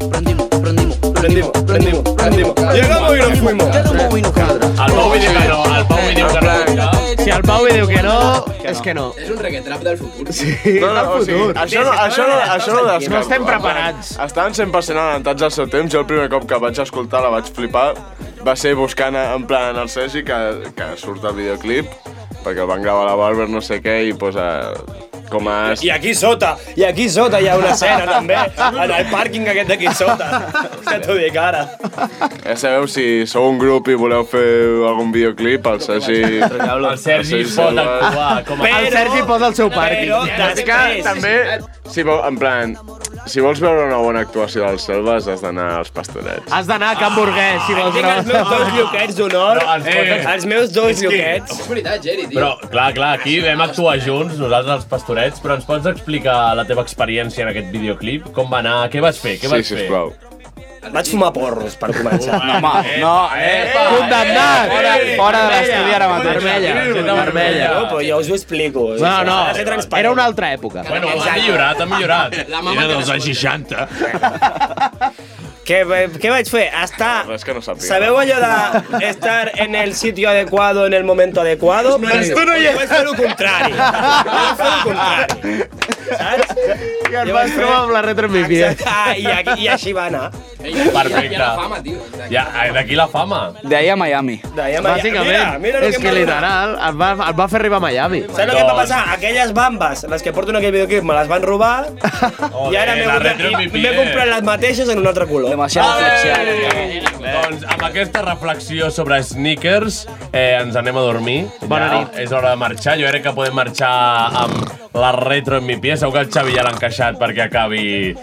Prendimos, prendimos, prendimos.
Llegamos y nos fuimos.
Llegamos y nos
El Pau hi diu que no, el Pau hi diu que no.
Si el Pau hi diu que no, és que no.
És un reggaetrap del futur.
Sí.
No, no, o sigui, això no, això no, això no, descarto.
No estem preparats.
Estaven 100% adelantats al seu temps. Jo el primer cop que vaig escoltar la vaig flipar. Va ser buscant en plan el Sergi, que, que surt al videoclip, perquè el van gravar a la Barber no sé què i posa com a...
I aquí sota, i aquí sota hi ha una escena també, en el pàrquing aquest d'aquí sota. Que t'ho dic ara.
Ja sabeu, si sou un grup i voleu fer algun videoclip, el Sergi...
El
Sergi
Sergi pot
Serra.
actuar com a...
El Sergi posa el seu pàrquing.
És que també, si vol, en plan, si vols veure una bona actuació dels Selves, has d'anar als Pastorets. Ah,
Has d'anar a Can Burguès, si vols.
Tinc els meus dos lloquets d'honor,
No, els
eh,
fotos-
els meus dos
És que-
lloquets.
És veritat,
eh,
Geri, tio.
Però, clar, clar, aquí vam actuar junts, nosaltres els pastorets, però ens pots explicar la teva experiència en aquest videoclip? Com va anar? Què vas fer? Què
Sí,
vas fer?
sisplau.
Vaig fumar porros per començar.
No,
Ah,
home, no, eh, condemnat! Fora,
eh,
fora de l'estudi ara mateix.
No, però jo us ho explico.
No, no,
Ha de ser transparent.
Era una altra època.
Bueno, ha millorat, ha millorat. La
mama té
dels anys 60.
Què, va- què vaig fer? Estar...
Res que no sàpiga.
¿Sabeu allò de estar en el sitio adecuado, en el momento adecuado?
No eres tu, no hi
Pues
és.
vaig fer el contrari. Vaig fer el contrari. Saps? I
et vas trobar amb la retro en mi pie.
Ah, i, aquí, i així va anar.
Perfecte. Ja, fama,
tio.
ja eh, d'aquí la fama.
D'ahir a Miami.
D'ahir a Miami.
Bàsicament,
Mira, mira lo
és
que
que
em va
literal et va, et va fer arribar a Miami.
Saps el que va passar? Aquelles bambes, les que porto en aquell videoclip, me les van robar
[LAUGHS]
i ara m'he
la
comprat,
retro
i
MVP,
m'he
eh?
comprat les mateixes en un altre color.
Demasiada
Doncs amb aquesta reflexió sobre sneakers eh, ens anem a dormir. Bona ja nit. És hora de marxar. Jo crec que podem marxar amb la retro en mi pie. Segur que el Xavi ja l'ha encaixat perquè acabi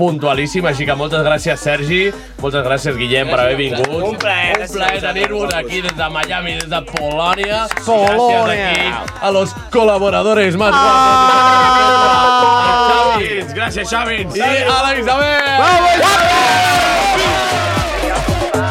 puntualíssim. Així que moltes gràcies, Sergi. Moltes gràcies, Guillem, per haver vingut.
Un plaer.
Un plaer tenir-vos aquí des de Miami, des de Polònia.
Polònia.
Gràcies aquí a los col·laboradores más guapos. de Xavins. Gràcies, Xavins. I a la Isabel.
Bravo, Isabel!